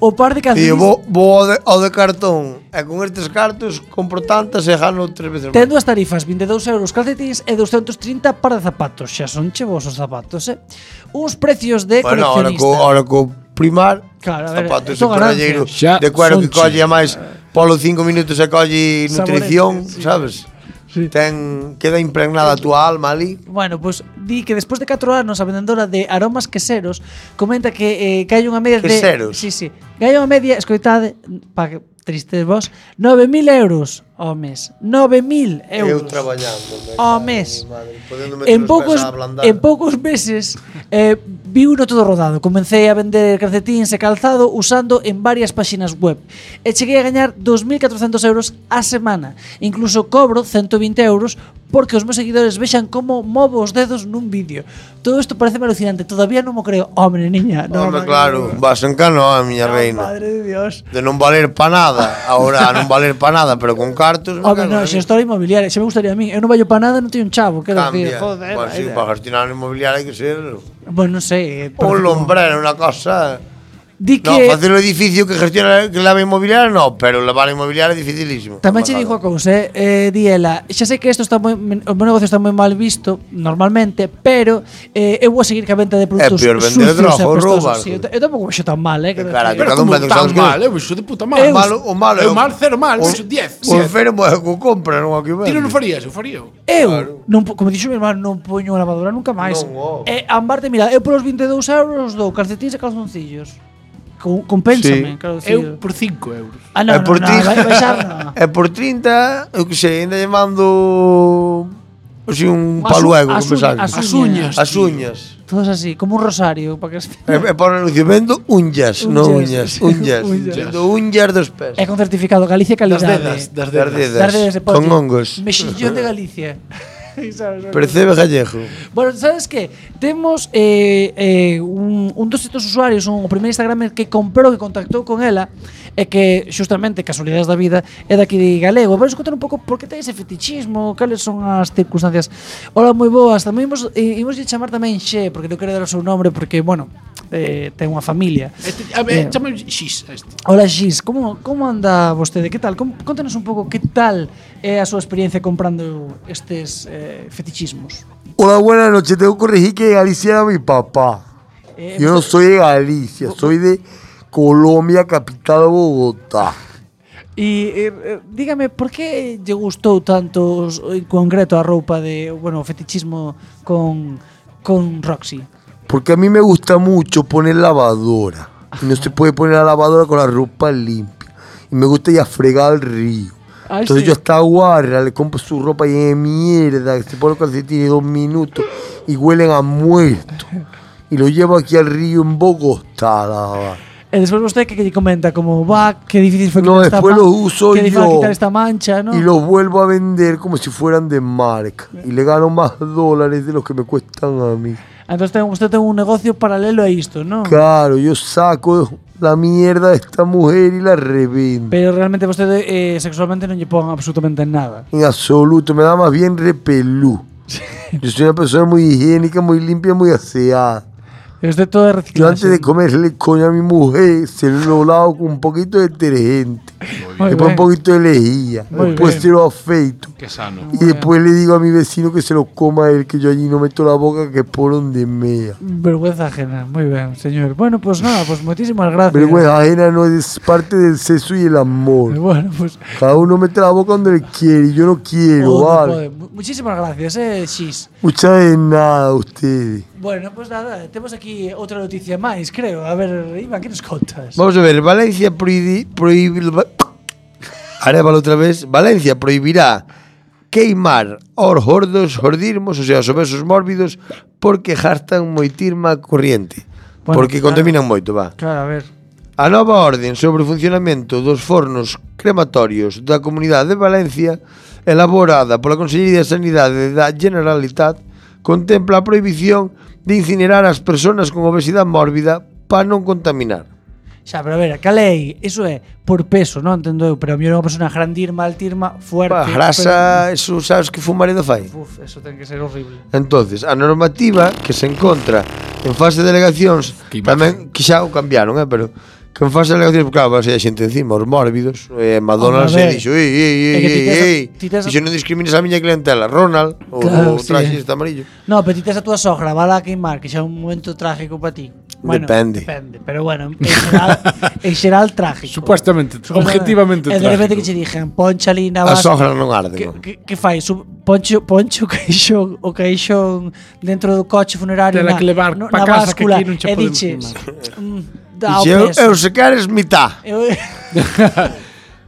o par de
Tío,
calcetins
vou, vou ao, de, ao de cartón E con estes cartos compro tantas e gano tres veces máis
Ten dúas tarifas, 22 euros calcetins e 230 para zapatos. Xa son chevos os zapatos, eh? Uns precios de
Bueno, ahora
coleccionista.
co, ahora co primar
Claro, a ver,
Zapatos
esto
e corralleiro
ganancia. Xa
De cuero que
son
colle a máis Polo cinco minutos e colle nutrición
Saboretes, sí.
Sabes? Ten, queda impregnada a túa alma ali
Bueno, pois pues, di que despois de 4 anos a vendedora de aromas queseros comenta que eh, que hai unha media
Queseros.
de Sí, sí. Que hai unha media, escoitade, pa que tristes vos, 9000 euros ao mes. 9000
Eu
euros.
traballando me
Ao
cago
mes.
mi madre, podendo meter
en
os pés
poucos
a ablandar.
en poucos meses eh vi uno todo rodado. Comecei a vender calcetíns e calzado usando en varias páxinas web e cheguei a gañar 2400 euros a semana. Incluso cobro 120 euros porque os meus seguidores vexan como movo os dedos nun vídeo. Todo isto parece alucinante, todavía non mo creo. Hombre, niña, non.
Home,
non,
claro,
non, non.
vas en canoa, miña
Non,
reina
Oh, Madre de Dios.
De non valer pa nada Ahora, a non valer pa nada Pero con cartos me
Home,
cago
non,
na
se
vida.
estou inmobiliaria, se me gustaría a min. Eu non vallo para nada, non teño un chavo, quero
Cambia.
decir, joder.
Pois sí,
vaya.
para gestionar un inmobiliario hai que ser
Bueno, non sei.
un
eh, parece como-
lombrero, unha cosa...
Di
No,
que
facer o edificio que gestiona que lava inmobiliaria, no, pero lavar inmobiliaria é dificilísimo.
Tamén che dixo a cousa, eh, eh Diela, xa sei que isto está moi men- o meu negocio está moi mal visto normalmente, pero eh, eu vou seguir ca venta de produtos
É peor vender
sucios
droga
e
ou
apestosos.
roubar.
Sí, eu, t- eu tampouco vexo tan mal, eh, que
Cara,
decir,
cada un
como
vende o que
tan
sabes que-
mal, eu iso de puta
Eu-
madre.
O malo, o malo,
Eu mal, cero mal,
o,
iso, diez,
O
siete.
enfermo é o que compra, non o que vende.
Ti non o farías, eu faría.
eu non, po- como dixo meu irmán, non poño a lavadora nunca máis.
Non, oh.
E ambarte, mira, eu polos 22 euros dou calcetins e calzoncillos. Co,
Sí.
compénsame, claro, decir.
Eu por 5 euros.
ah,
é
non,
por
non,
ti.
non, vai, vai xa, non.
E por 30, eu que sei, ainda lle mando así un
As u-
paluego,
as
como
uñas,
sabes.
As uñas.
As uñas.
Todos así, como un rosario, para que as-
E, e por anuncio, vendo unhas, non
Unhas.
uñas, unhas.
Unhas.
Vendo unhas dos pés.
É con certificado Galicia
Das
calidade.
dedas, das
Das
dedas.
dedas.
Tarde de
Con hongos.
Mexillón de Galicia. Sabes,
Percebe gallego.
Bueno, sabes que temos eh, eh, un, un dos estos usuarios, un, o primeiro Instagramer que comprou, que contactou con ela e que, xustamente, casualidades da vida é daqui de Galego. Vamos contar un pouco por que ten ese fetichismo, cales son as circunstancias. Hola, moi boas. Tamén imos, eh, imos lle chamar tamén Xe, porque non quero dar o seu nombre, porque, bueno, eh, ten unha familia.
Este, a ver,
Eh,
chama X a este.
Ola Xis, como, como anda vostede? Que tal? Com, contanos un pouco que tal é a súa experiencia comprando estes eh, fetichismos.
Hola, buenas noches. Tengo que corregir que Galicia era mi papá.
Eh,
Yo no
pues,
soy de Galicia, soy de Colombia, capital de Bogotá.
E eh, eh, dígame, por que lle gustou tanto os- en concreto a roupa de, bueno, o fetichismo con con Roxy?
Porque a mí me gusta mucho poner lavadora. Y no se puede poner la lavadora con la ropa limpia. Y me gusta ir a fregar al río.
Ay,
Entonces
sí.
yo hasta guarra le compro su ropa y de mierda, que se pone los calcetines dos minutos y huelen a muerto. Y lo llevo aquí al río en Bogotá. a lavar.
E despois vostede que lle comenta como, va, que difícil foi quitar
No,
esta
después
man-
los uso
que difícil
yo.
quitar esta mancha, ¿no?
Y los vuelvo a vender como si fueran de marca. Y le gano más dólares de los que me cuestan a mí.
Ah, Entonces ten, usted ten un negocio paralelo a isto, ¿no?
Claro, yo saco la mierda de esta mujer y la revendo.
Pero realmente vostede eh, sexualmente non lle pon absolutamente nada.
En absoluto, me da más bien repelú. Yo soy una persona muy higiénica, muy limpia, muy aseada.
Es de todo
Yo antes de comerle coño a mi mujer, se lo lavo con un poquito de detergente.
Muy
Después
bien.
un poquito de lejía.
Muy
Después
bien.
se lo afeito.
Qué sano.
Y después le digo a mi vecino que se lo coma él, que yo allí no meto la boca, que es por donde mea.
Vergüenza ajena, moi ben, señor. Bueno, pues nada, pues moitísimas gracias.
Vergüenza ajena no es parte del sexo y el amor.
Bueno, pues.
Cada uno mete la boca donde le quiere, y yo no quiero,
Oh, no
¿vale?
pode. Mu- Muchísimas gracias, eh, Xis.
Mucha de nada a ustedes.
Bueno, pues nada, temos aquí outra noticia máis, creo. A ver, Iván, que nos contas?
Vamos a ver, Valencia prohibirá. Ahora vale otra vez. Valencia prohibirá queimar os gordos, jordirmos, o sea, os obesos mórbidos, porque gastan moitirma corriente.
Bueno,
porque
claro.
contaminan moito, va.
Claro, a ver.
A nova orden sobre o funcionamento dos fornos crematorios da Comunidade de Valencia, elaborada pola Consellería de Sanidade da Generalitat, contempla a prohibición de incinerar as persoas con obesidade mórbida para non contaminar.
Xa, pero a ver, a lei, iso é por peso, non entendo eu, pero a mí era unha persona grandirma, altirma, fuerte.
Pa, grasa, eso sabes que fumaredo fai?
pero- Uf, eso ten que ser horrible.
Entonces, a normativa que se encontra en fase de delegacións tamén que xa o cambiaron, eh, pero que en fase de delegacións, claro, vai ser a xente encima, os mórbidos, eh, Madonna se
Hombre, a ver.
dixo, ei, ei,
É que
ei,
ti
ei,
tes a-
ei,
ti tes a-
iso non discrimines a miña clientela, Ronald, o,
Claro,
o traxe
sí.
este amarillo.
No, pero ti tes a túa sogra, vala a queimar, que xa é un momento trágico para ti. Bueno,
Depende.
Depende, pero bueno, en xeral, en xeral trágico.
Supuestamente, objetivamente
E de
trágico.
repente que che dixen, poncha ali na
A
base.
sogra non arde,
Que,
non.
que, que fai? Su, poncho, poncho o caixón, o caixón dentro do coche funerario
Tela
na,
que levar
no-
pa
na
casa, que
báscula,
aquí non che
e
podemos
diches, mm, dá o
Dixe, eu,
peso.
eu se queres mitad.
Eu-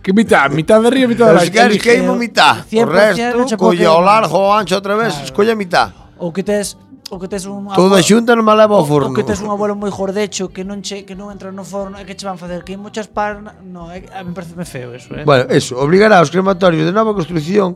Que mitad, mitad de río, mitad de
Eu
la
se queres queimo mitad. O
100% non
resto,
che
colle
puedo
ao
queimar.
largo, ao ancho outra vez, escolla mitad.
Ou que tes o que tes un
Toda xunta non me leva ao
o-
forno.
O que tes un abuelo moi jordecho que non che que non entra no forno e que che van facer que moitas parnas, no, é, a mí pareceme feo eso, eh.
Bueno, eso, obrigará os crematorios de nova construción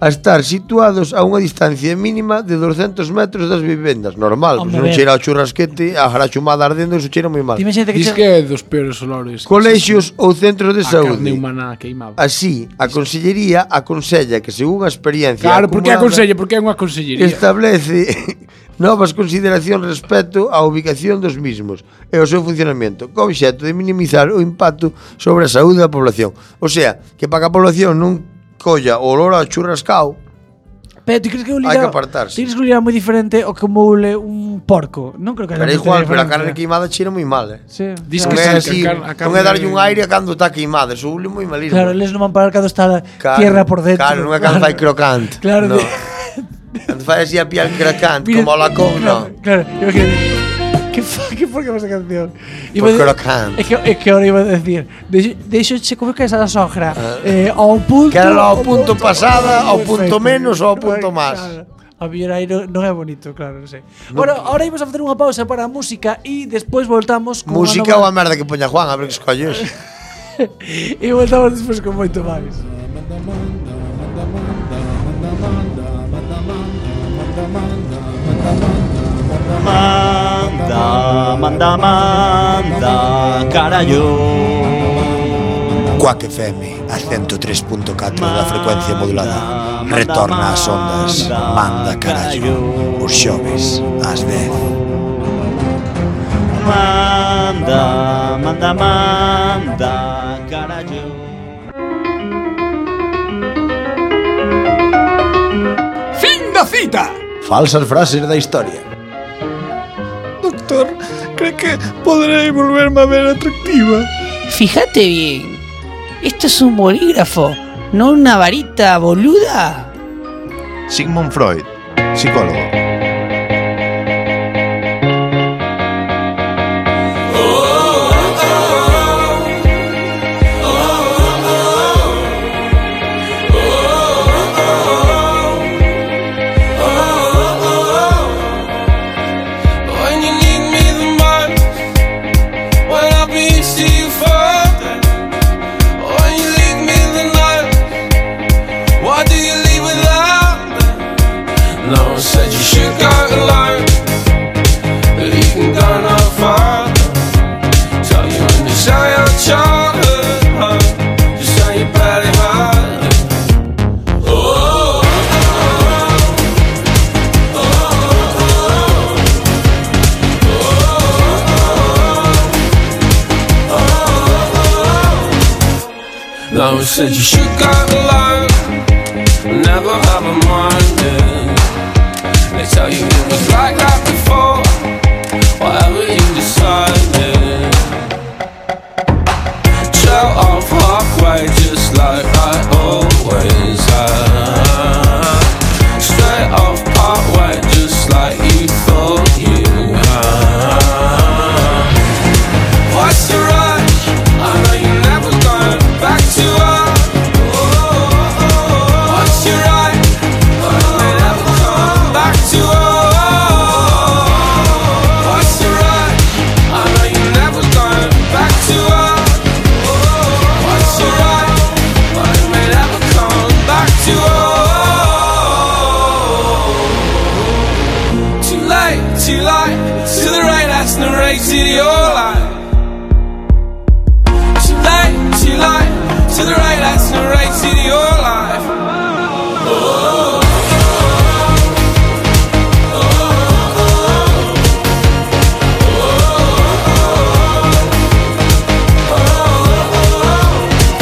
a estar situados a unha distancia mínima de 200 metros das vivendas. Normal, pois
Hombre,
non
ver.
cheira o churrasquete, a jarachumada ardendo, eso cheira moi mal.
Dime xente que
Diz
che
que é dos peores olores.
Colexios ou centros de
A carne
saúde.
humana queimada.
Así, a Consellería aconsella que, según a experiencia
Claro, porque
acumulada,
aconsella, porque é unha consellería.
establece novas consideracións respecto á ubicación dos mismos e ao seu funcionamento, co obxecto de minimizar o impacto sobre a saúde da población. O sea, que para que a población non colla o olor a churrascao,
Pero ti crees que o
hai que
lirao,
apartarse.
ti crees que o lirao moi diferente o como ule un porco? Non creo que
Pero é igual, pero a carne queimada cheira moi mal, eh.
Sí,
Dis
non
que
é
sí,
así,
que a car- a
non é
carne-
darlle un aire cando está queimada, eso ule moi malísimo.
Claro, eles non van parar cando está
Claro,
tierra por dentro.
Claro, non é cando fai crocante.
Claro,
no.
de-
Cando fai así a piel crocante,
Mira,
como a lacón, no.
Claro, claro, yo que ¿Qué, fa- qué por qué esa canción?
Por
a decir-
crocante.
es que, es que ahora iba a decir, de, de hecho, che, ¿cómo es que es a la sogra? Eh, a un punto.
Ah. Que era ao
ao
punto pasada, ao punto
perfecto.
menos ou ao
No,
punto máis.
claro. A mí ahí no, no es bonito, claro, no sé. Bueno, ahora íbamos a hacer una pausa para música y después voltamos con una
Música ou
nova-
a merda que poña Juan, a ver que escolles.
Y voltamos después con moito máis.
Manda, manda, manda, carallo.
Cuac FM, a 103.4 da frecuencia modulada. Retorna ás ondas, manda carallo, os xoves, ás 10.
Manda, manda, manda, carallo.
Fin da cita!
Falsas frases da historia.
Doctor, cree que podré volverme a ver atractiva?
Fíjate bien. Esto es un bolígrafo, no una varita boluda.
Sigmund Freud, psicólogo.
Mama said you should got a lot, never have a minded. They tell you it was like that before, whatever you decided. Trail off halfway, just like I always had. Straight off partway, just like you thought you had. What's the rush? I know you're never going back to us. What's your right? I know you're never going back to us. What's your right? I know you're never going back to us. What's your right? I know you're never going back to us. Too late, too late. To the right, that's narrated your life. She lied, she lied to the right, that's the right city your life. Oh.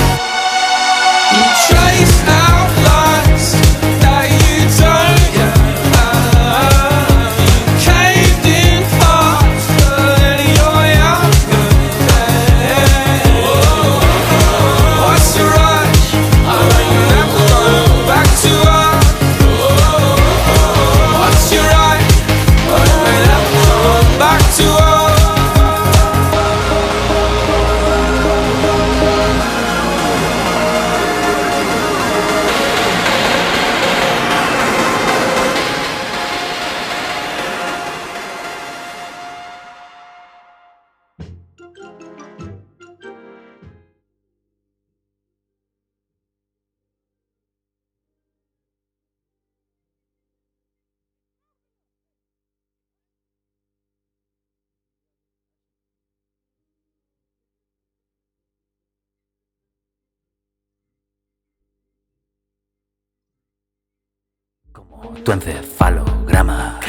You trace out lines that you don't get back. You caved in faster than your younger days. What's the rush? I know you're never going back to us. What's your right? I know you're never going back to us.
tu encefalograma.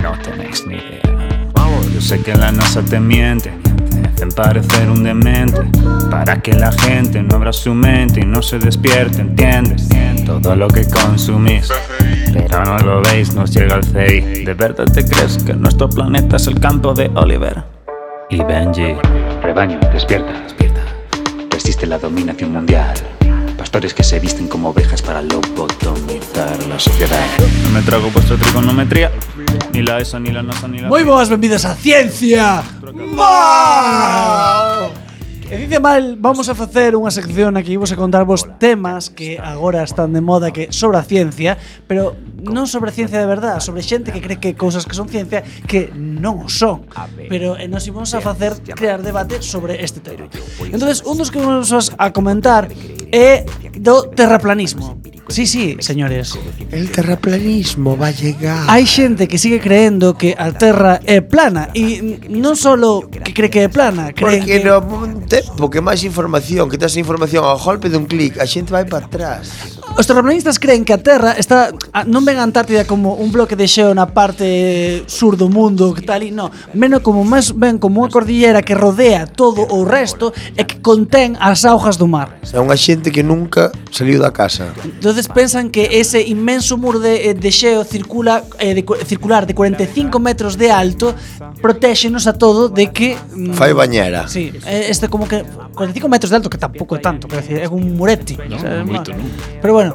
No tenéis ni idea. Yo sé que la NASA te miente, te hacen parecer un demente. Para que la gente no abra su mente y no se despierte, ¿entiendes? Todo lo que consumís, pero no lo veis, nos llega el CI. ¿De verdad te crees que nuestro planeta es el campo de Oliver? Y Benji. Rebaño, despierta, despierta. Resiste la dominación mundial. Pastores que se visten como ovejas para lobotomizar la sociedad. No me trago vuestra trigonometría, ni la ESA, ni la NASA, ni la.
Moi boas, benvidas a Ciencia Mal E Ciencia Mal vamos a facer unha sección aquí Vos a contarvos temas que agora están de moda Que sobre a ciencia Pero non sobre a ciencia de verdad Sobre xente que cree que cousas que son ciencia Que non o son Pero eh, nos imos a facer crear debate sobre este tema Entonces, un dos que vamos a comentar É do terraplanismo Sí, sí, señores
El terraplanismo va a llegar.
Hai xente que sigue creendo que a Terra é plana e n- non só que cree que é plana, creen
Porque
que
no te, porque máis información, que tes información ao golpe dun clic, a xente vai para atrás.
os terraplanistas creen que a Terra está a- non ven a Antártida como un bloque de xeo na parte sur do mundo, que tal e non, menos como máis ben como unha cordillera que rodea todo o resto e que contén as augas do mar.
É unha xente que nunca saliu da casa.
Entonces pensan que ese inmenso muro de, eh, de xeo circula, eh, de, cu- circular de 45 metros de alto protéxenos a todo de que... mm,
Fai bañera.
Sí, eh, este como que 45 metros de alto, que tampouco é tanto, quero decir, é un murete. Non,
moito, non.
Pero bueno,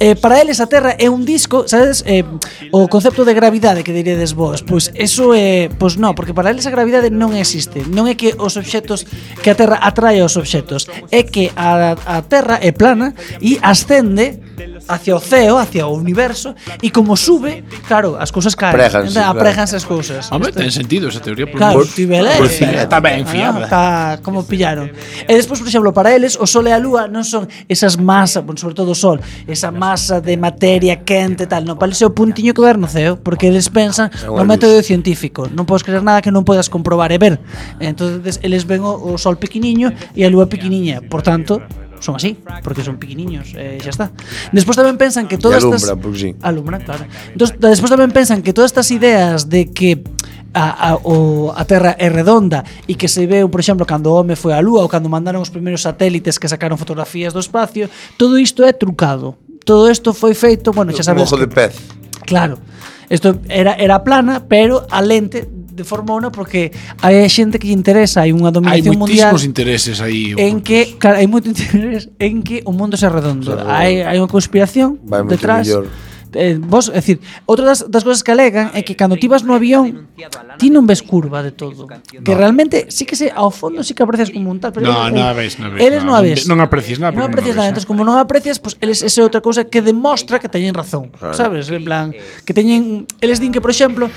eh, para eles a Terra é un disco, sabes, eh, o concepto de gravidade que diredes vos, pois eso é, pois non, porque para eles a gravidade non existe. Non é que os obxectos que a Terra atrae os obxectos, é que a, a Terra é plana e ascende hacia o ceo, hacia o universo e como sube, claro, as cousas caen.
Préganse,
Entón,
claro.
Apréganse as cousas.
Home, ten sentido esa teoría por
Claro,
lo menos.
Tibel
Por fin, Está ben fiable.
eh, Ah, está como pillaron. E despois, por exemplo, para eles, o Sol e a Lúa non son esas masas, bueno, sobre todo o Sol, esa masa de materia quente e tal, non, para eles é o puntiño que ver no ceo, porque eles pensan
É
no
unha
método científico, non podes creer nada que non podas comprobar e ver. Entonces, eles ven o, o Sol pequeniño e a Lúa pequeniña, por tanto, son así, porque son pequeniños, eh, xa está. Despois tamén pensan que
Todas
todas
pois
e alumbra,
estas
porque sí.
alumbra, claro. Dos- despois tamén pensan que todas estas ideas de que a, a, o, a Terra é redonda e que se veu, por exemplo, cando o home foi á Lúa ou cando mandaron os primeiros satélites que sacaron fotografías do espacio, todo isto é trucado. Todo isto foi feito, bueno, xa
Un
sabes,
ojo de pez.
Claro. Isto era, era plana, pero a lente deformouna porque hai xente que lle interesa, hai unha
Hai
dominación mundial
moitísimos intereses aí.
en que, claro, hai moito interés en que o mundo se redondo.
Claro.
Hai hai unha conspiración
Vai moito
detrás.
mellor.
Eh, vos, é dicir, outra das, das cousas que alegan é que cando ti vas no avión ti non ves curva de todo. Que realmente sí que se ao fondo sí que aprecias como un tal, pero
No,
eles
non a ves, non a ves.
Eles non a ves.
Non aprecias nada,
Non
porque
aprecias
non a
nada,
ves.
entonces como non aprecias, pois pues, eles esa é outra cousa que demostra que teñen razón,
Claro.
sabes? En plan, que teñen eles din que, por exemplo,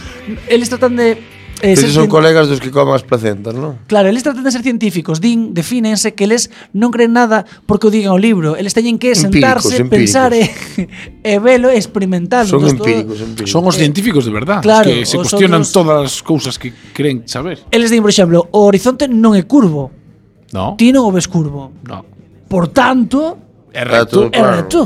eles tratan de eh,
Esos
ser
son
cien-
colegas dos que comen as placentas, non?
Claro, eles tratan de ser científicos, din, defínense que eles non creen nada porque o digan o libro, eles teñen que
Empíricos,
sentarse,
empíricos.
pensar e, e velo e experimentalo. Entón, todo-
Son os
Eh,
científicos de verdad,
claro,
os que se
os
cuestionan
outros-
todas as cousas que creen saber.
Eles din, por exemplo, o horizonte non é curvo.
No.
Ti non o ves curvo.
No.
Por tanto,
É recto.
é recto.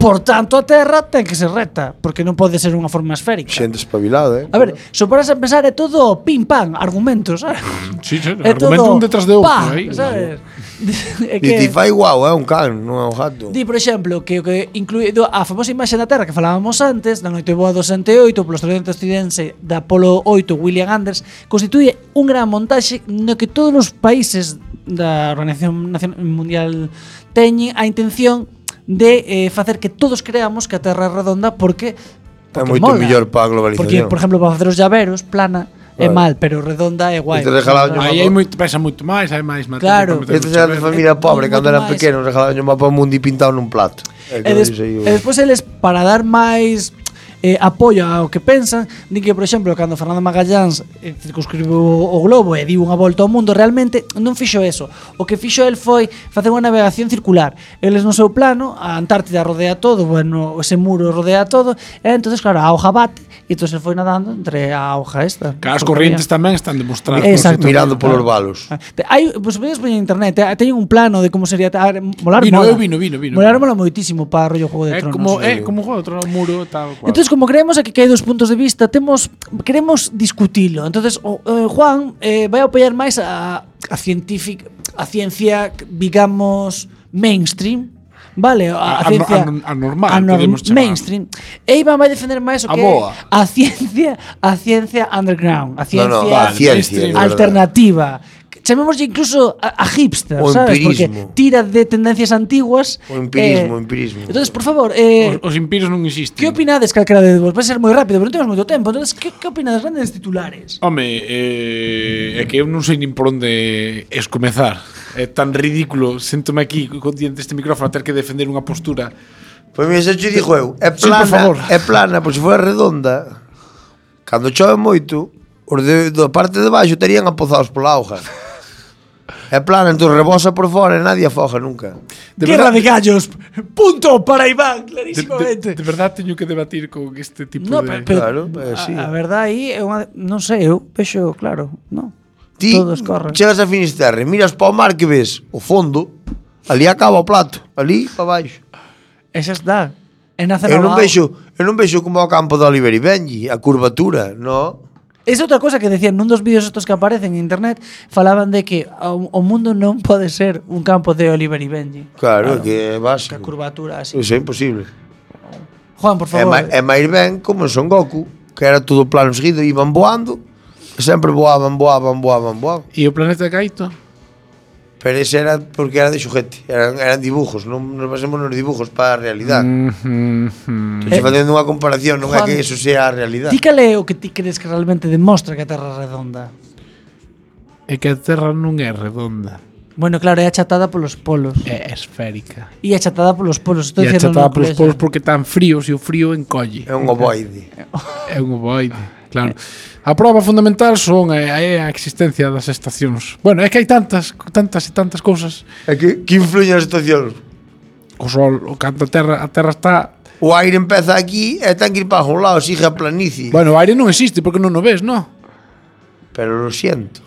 Por tanto, a Terra ten que ser recta, porque non pode ser unha forma esférica.
Xente espabilada, eh?
A ver, se o paras a pensar é todo pim pam, argumentos, sabes?
Sí, sí,
É
argumento
todo,
un detrás de outro
pa,
aí.
sabes? É
Di ti fai guau, é un can, non é un gato.
Di, por exemplo, que o que incluído a famosa imaxe da Terra que falábamos antes, da noite boa do 68, polo astronauta estadounidense da Apolo 8, William Anders, constituye un gran montaxe no que todos os países da Organización Nacion- Mundial teñen a intención de eh, facer que todos creamos que a Terra é redonda
É
porque porque
moito
mola.
mellor para a
Porque,
globalización.
por exemplo, para facer os llaveros, plana é
Claro.
mal, pero redonda é guai.
Aí hai moito, pesa moito máis, hai máis
Claro.
material. para meter
Estes
mucho
eran de
verde.
familia pobre, cando eran
máis.
pequenos, regalaban un mapa mundi pintado nun plato. É
E,
que
des,
dice aí o-
e despois eles para dar máis eh, apoio ao que pensan, din que, por exemplo, cando Fernando Magallans eh, circunscribiu o globo e diu unha volta ao mundo, realmente non fixo eso. O que fixo el foi facer unha navegación circular. Eles no seu plano, a Antártida rodea todo, bueno, ese muro rodea todo, e entonces claro, a hoja bate, e entonces el foi nadando entre a hoja esta.
Claro, as corrientes tamén están demostrando.
Exacto.
Mirando polos balos.
Te- Hai, pois pues, por internet, eh, teñen un plano de como sería tar, molar
Vino,
mola.
eu vino, vino, vino.
Molar mola moitísimo para rollo Juego de
É
Tronos.
como, eh, é como juego outro muro, tal cual.
Entonces, como creemos aquí que hai dos puntos de vista, temos queremos discutilo. Entonces, o, eh, Juan eh, vai a apoiar máis a a científica, a ciencia, digamos, mainstream. Vale, a,
A- a-
a ciencia
a- a normal,
norm-
podemos chamar.
mainstream. E Iván vai defender máis o
A
que
boa.
é a ciencia, a ciencia underground, a ciencia,
no, a ciencia, de
alternativa. Chamémoslle incluso a, a hipster,
O
sabes?
empirismo.
Porque tira de tendencias antiguas.
O empirismo,
eh,
o empirismo.
Entonces, por favor, eh,
Os impíos non existen.
Que opinades calquera de vos? Vai ser moi rápido, pero non temos moito tempo. Entonces, que, que opinades grandes titulares?
Home, eh, é que eu non sei nin por onde es comezar. É tan ridículo, sentome aquí con diante este micrófono a ter que defender unha postura.
Pois mira, xa che dixo eu, é
Sí, por
plana,
favor.
é plana, pois se fora redonda, cando chove moito, os de, da parte de baixo terían apozados pola auga. É plana, entón rebosa por fora e nadie afoga nunca.
De Guerra verdad- de
gallos, punto para Iván,
De, de, de verdad teño que debatir con este tipo
No,
de...
pero, pero a, eh, a verdade aí é unha, non sei, eu vexo claro, non.
Ti
Todos corren.
chegas a Finisterre, miras para o mar que ves o fondo, ali acaba o plato, ali para baixo.
Esa está. En
Eu non vexo, eu non vexo como o campo de Oliver e Benji, a curvatura, no?
Es outra cosa que decían nun dos vídeos estos que aparecen en internet, falaban de que o, o mundo non pode ser un campo de Oliver y Benji.
Claro, claro. que é básico. Que
curvatura así.
Iso é imposible.
Juan, por
É,
favor.
ma- é máis ben como en Son Goku, que era todo plano seguido, iban voando, e sempre voaban, voaban, voaban, voaban.
E o planeta Gaito?
Pero ese era porque era de xujete, eran, eran dibujos, non nos basemos nos dibujos para a realidade.
Mm,
Estou facendo unha comparación, non é
Juan,
que eso sea a realidade.
Ti cal é o que ti crees que realmente demostra que a Terra é redonda?
É que a Terra non é redonda.
Bueno, claro, é achatada polos polos.
É esférica.
E achatada polos polos. Estou
E
dicindo
achatada
no
polos
colegio.
polos porque tan fríos e o frío encolle.
É un ovoide.
É un ovoide, claro. A prova fundamental son eh, é a existencia das estacións. Bueno, é que hai tantas, tantas e tantas cousas.
É que, que influyen as estacións?
O sol, o canto a terra, a terra está...
O aire empeza aquí e ten que ir para un lado, sigue a planicie.
Bueno, o aire non existe porque non o ves, non?
Pero lo siento.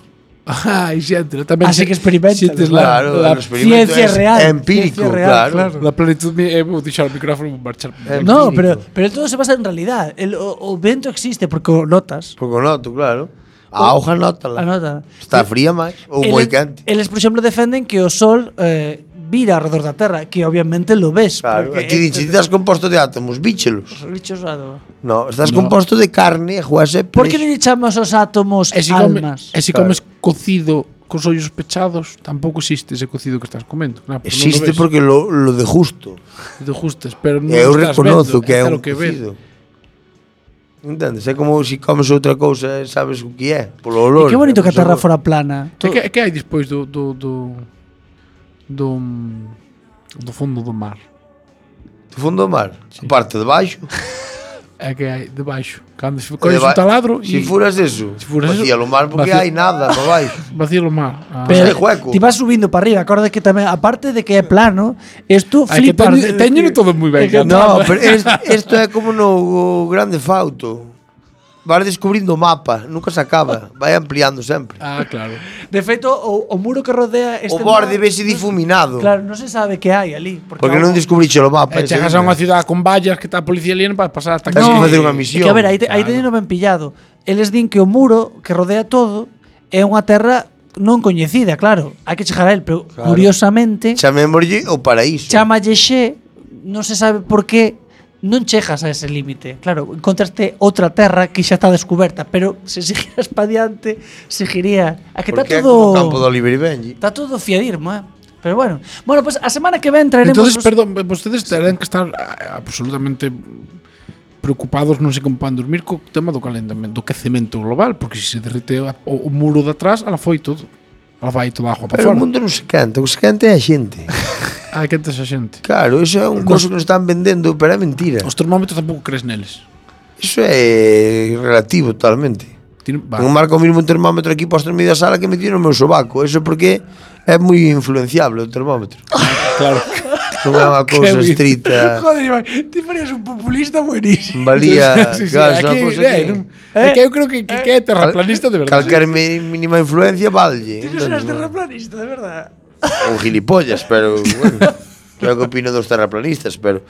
Ai, xente, tamén
Así que experimenta,
xentes
claro, o experimento Ciencia es real, empírico, ciencia real, claro. claro.
La plenitud é vou deixar o micrófono e marchar.
No, pero, pero todo se basa en realidad. El, o, o vento existe porque o notas.
Porque o noto, claro. A hoja anótala.
Anótala.
Está fría máis ou
Eles-
moi quente.
Eles, por exemplo, defenden que o sol eh, vira alrededor da Terra, que obviamente lo ves.
Claro,
porque-
aquí dice, estás composto de átomos, víchelos.
Os bichos átomos.
No, estás
No.
composto de carne, juase,
Por que non lle chamas os átomos
E si, come,
almas?
e si comes cocido cos ollos pechados, tampouco existe ese cocido que estás comendo. Claro, porque non lo
Existe
ves.
porque lo, lo de justo.
Te gustas, pero non
eu
lo estás vendo,
reconozo que é
está
un
lo que ves.
cocido. Entendes? É como se si comes outra cousa e sabes o que é, polo olor.
E que bonito
polo
que a Terra
sabor.
fora plana.
E que, e que hai despois do do do do, mm, do fondo do mar?
Do fondo do mar, a parte de baixo.
É que hai debaixo. Cando se
de
colles un
ba-
taladro
Si
e-
furas eso,
si furas
vacía lo mar porque hai nada pa baixo.
Vacía lo mar. Ah.
Pero-
Eh,
Pues hai hueco.
Ti vas subindo para arriba, acorda que tamén aparte de que é plano, isto
Ai, que
flipas.
teño-
de-
teño todo moi ben
É que
No, pero es- esto é como no grande fauto. Vas descubrindo o mapa, nunca se acaba, vai ampliando sempre.
Ah, claro.
De feito, o, o muro que rodea este
O borde vese difuminado.
Claro, non se sabe que hai ali, porque,
Porque non descubriche o mapa.
E
eh,
chegas a unha cidade con vallas que está a policía ali para pasar hasta
Tens que facer unha
É que a ver, aí, te, aí teñeno ben pillado. Eles din que o muro que rodea todo é unha terra non coñecida, claro. Hai que chegar a él, pero
Claro.
curiosamente
Chamémoslle o paraíso.
chamalle xe, non se sabe por qué non chegas a ese límite. Claro, encontraste outra terra que xa está descoberta, pero se seguiras pa diante, seguiría. A que está
Porque é como
todo...
o campo do Oliver e Benji.
Está todo fiadirmo, eh? Pero bueno. Bueno, pues a semana que ven traeremos...
Entonces,
os-
perdón, eh, vostedes terán que estar ah, absolutamente preocupados, non sei como pan dormir, co tema do calentamento, do quecemento global, porque se se derrite a- o, o muro de atrás, ala foi todo. Ala vai toda a agua para
Pero o
fora.
mundo non se canta, o que se canta é a xente.
Hai que tes a xente.
Claro, iso é
Nos-
un coso que nos están vendendo, pero é mentira.
Os termómetros tampouco crees neles.
Iso é relativo totalmente.
Tiene,
Non marco o mismo un termómetro aquí para os media sala que me tiro o meu sobaco. Eso porque é moi influenciable o termómetro.
Claro.
Non é unha cousa estricta.
Joder, Iván, ti farías un populista buenísimo.
Valía,
Sí, sí,
claro,
aquí,
é unha cousa
eh,
que-
non- é que eu creo que, que, que é terraplanista de verdade.
eh, Calquer mi- mínima influencia vallle. entendes, non?
terraplanista, de verdad.
un gilipollas, pero bueno. Creo que opino dos terraplanistas, pero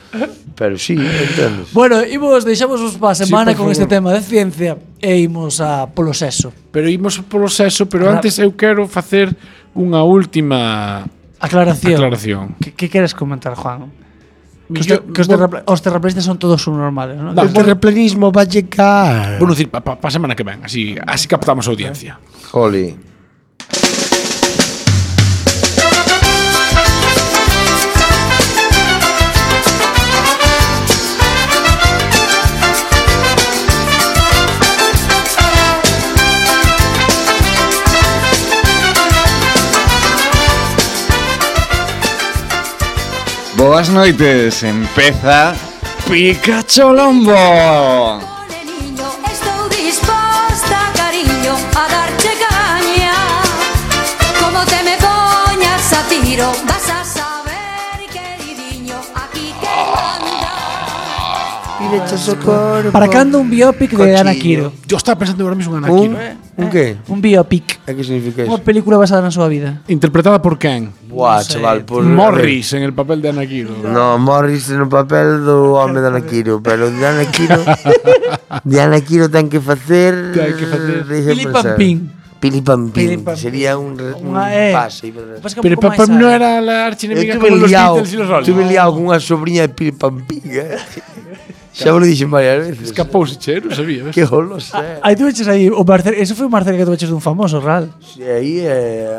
pero sí, entendes.
Bueno, imos, deixamos os pa semana
por
con este
favor.
tema de ciencia e imos a polo sexo.
Pero imos polo sexo, pero
Claro.
antes eu quero facer unha última
Aclaración.
aclaración.
Que, que queres comentar, Juan? Que os,
Yo-
te, que os, terrapla, os terraplanistas son todos subnormales,
No,
non?
bueno,
terraplanismo va a llegar.
bueno, decir, pa, pa, pa semana que ven, así, así captamos a audiencia.
Jolín.
Boas noites, empeza Pikachu Lombo.
Estou disposta, cariño, a darte caña. Como te me poñas a tiro, vas a saber, queridinho, aquí que
Para cando un biopic de
Cochillo.
Ana Quiro?
Yo estaba pensando ahora mismo en Ana
Un-
Quiro.
Un que?
Un biopic.
E que significa
Unha película basada na súa vida.
Interpretada por quen?
Buah, chaval, por
Morris en el papel de Ana Quiro.
No, Morris no papel do home de Anaquiro, pero de Anaquiro de Anaquiro ten que facer
Ten que facer.
deixa
Pili
pensar.
Pampín.
Pili
Pili
Pampín.
Pampín.
Sería un, re- un
Unha, eh.
pase.
Pues que un
Pero
pouco
Papá
máis a-
no era la archinemiga
Eu
como
Eh, tuve
los
liado,
Beatles y los Rolling.
tuve liado con unha sobrinha de Pili Pampín. Eh? Xa vos lo dixen varias veces.
Escapouse, che, non sabía. ves?
Que goloso, eh.
Aí tú eches aí o Marcel, eso foi o Marcel que tú eches dun famoso, real.
E aí eh,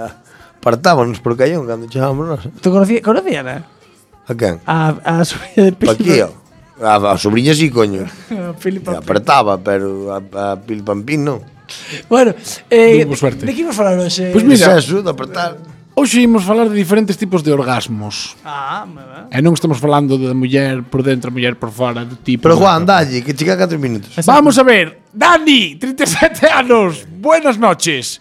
apartámonos por callón cando chegábamos nós.
Tú conocías, conocías, eh?
A quen?
A, a sobrinha de Pili.
Paquío. oh. A, a sobrinha sí, coño.
A Pili Pampín.
Apertaba, pero a, a Pili Pampín non.
Bueno, eh,
Tuvimos suerte. Pues
de que imos falar hoxe?
Pois mira,
Xa axuda a apertar.
Hoxe imos falar de diferentes tipos de orgasmos.
Ah, me va.
E non estamos falando da muller por dentro, muller por fora, do tipo.
Pero Juan, dalle, que chega a 4 minutos.
Vamos a ver. Dani, 37 anos. Buenas noches.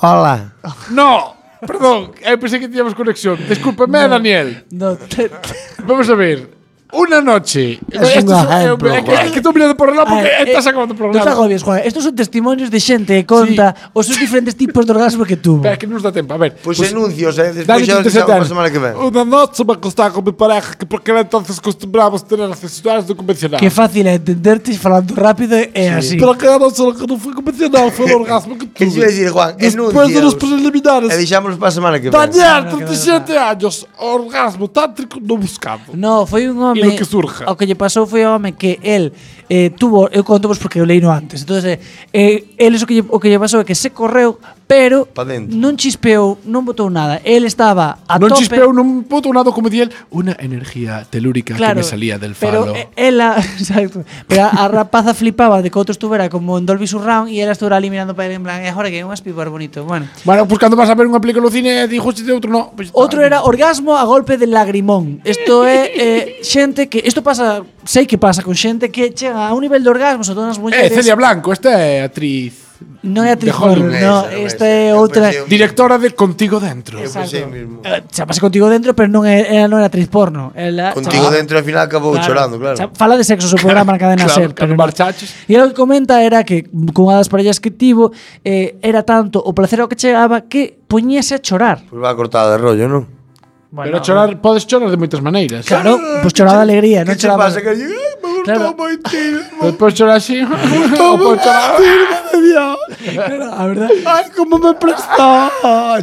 Hola.
No, perdón, eh, pensé que teníamos conexión. Discúlpame, Daniel.
No, te- te-
Vamos a ver. Una noche.
Es un ejemplo,
é que,
Juan.
é que estou mirando por lá porque
A ver,
estás
eh,
acabando por
Non te
lado.
agobies, Juan. Estos son testimonios de xente que conta os seus diferentes tipos de orgasmo que tuvo.
Espera, que non nos dá tempo. A ver. pues
Pois
enuncios, eh, despois
Dani,
xa os
tú te
dixamos
sentas.
a semana que ven.
Una noche me acostaba con mi pareja que porque era entonces acostumbramos tener las necesidades do convencional.
Que fácil é entenderte falando rápido e é así.
Pero que non só que non foi convencional, foi o orgasmo que
Que
tuve.
te iba a decir, Juan,
Después de los preliminares.
E deixámoslo para a semana que ven.
Daniel, 37 años, orgasmo tántrico no buscado.
No, foi un home
E o que surja.
O que lle pasou foi ao home que el eh, tuvo, eu conto vos porque eu leino antes. Entonces, eh, eh, el eso que lle, o que lle pasou é que se correu, pero non chispeou, non botou nada. El estaba a
non
tope.
chispeo, non puto nada como di él, una energía telúrica
Claro,
que me salía del
Pero
falo.
eh, ela, exacto, pero a, a rapaza flipaba de que outro estuvera como en Dolby Surround e ela estuvera ali mirando para ele en plan, e agora que é un aspibar bonito. Bueno,
bueno, pues cando vas a ver unha película no cine, dijo de outro no. Pues,
Outro era orgasmo a golpe de lagrimón. Isto é eh, xente que isto pasa, sei que pasa con xente que chega a un nivel de orgasmo, sobre todo nas
Eh,
mulleres.
Celia Blanco, esta é actriz.
Non é actriz
de Hollywood.
porno, no, esta é outra.
Directora de Contigo Dentro.
pues
Exacto. Eh, Chapase contigo dentro, pero non é ela non é actriz porno. Ela
Contigo
chapa-
dentro al final acabou
Claro.
chorando, claro.
Cha- Fala de sexo o seu programa na cadena
Claro,
ser, pero non. E ela o que comenta era que cunha das parellas que tivo eh, era tanto o placer ao que chegaba que poñese a chorar.
Pois Pues va cortada de rollo, non?
pero chorar, podes chorar de moitas maneiras.
Claro, pois choraba de alegría, non
que che
choraba.
pasa
que
Claro.
Despois chorar así. ou podes chorar.
A verdad.
Ay, como me prestaba.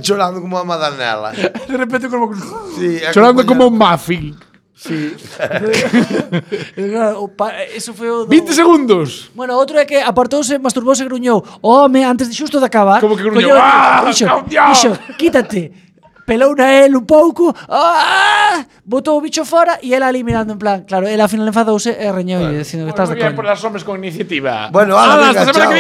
Chorando como a madanela.
De repente como...
Sí,
Chorando como un muffin.
Sí.
Claro, o oh, pa- eh, Eso foi o do-
20 segundos.
Bueno, outro é que apartouse, masturbouse e gruñou. O Home, antes de xusto de acabar.
Como que gruñou?
colleu-
"Ah,
dixo,
cambia!"
dixo, quítate. Pelou na el un pouco. Ah, botou o bicho fora e ela ali mirando en plan. Claro, ela ao final enfadouse e reñou e dicindo que estás
Muy
de
bien
coña.
por las hombres con iniciativa.
Bueno,
Ala,
ala, venga,
hasta semana que
chao.
viene.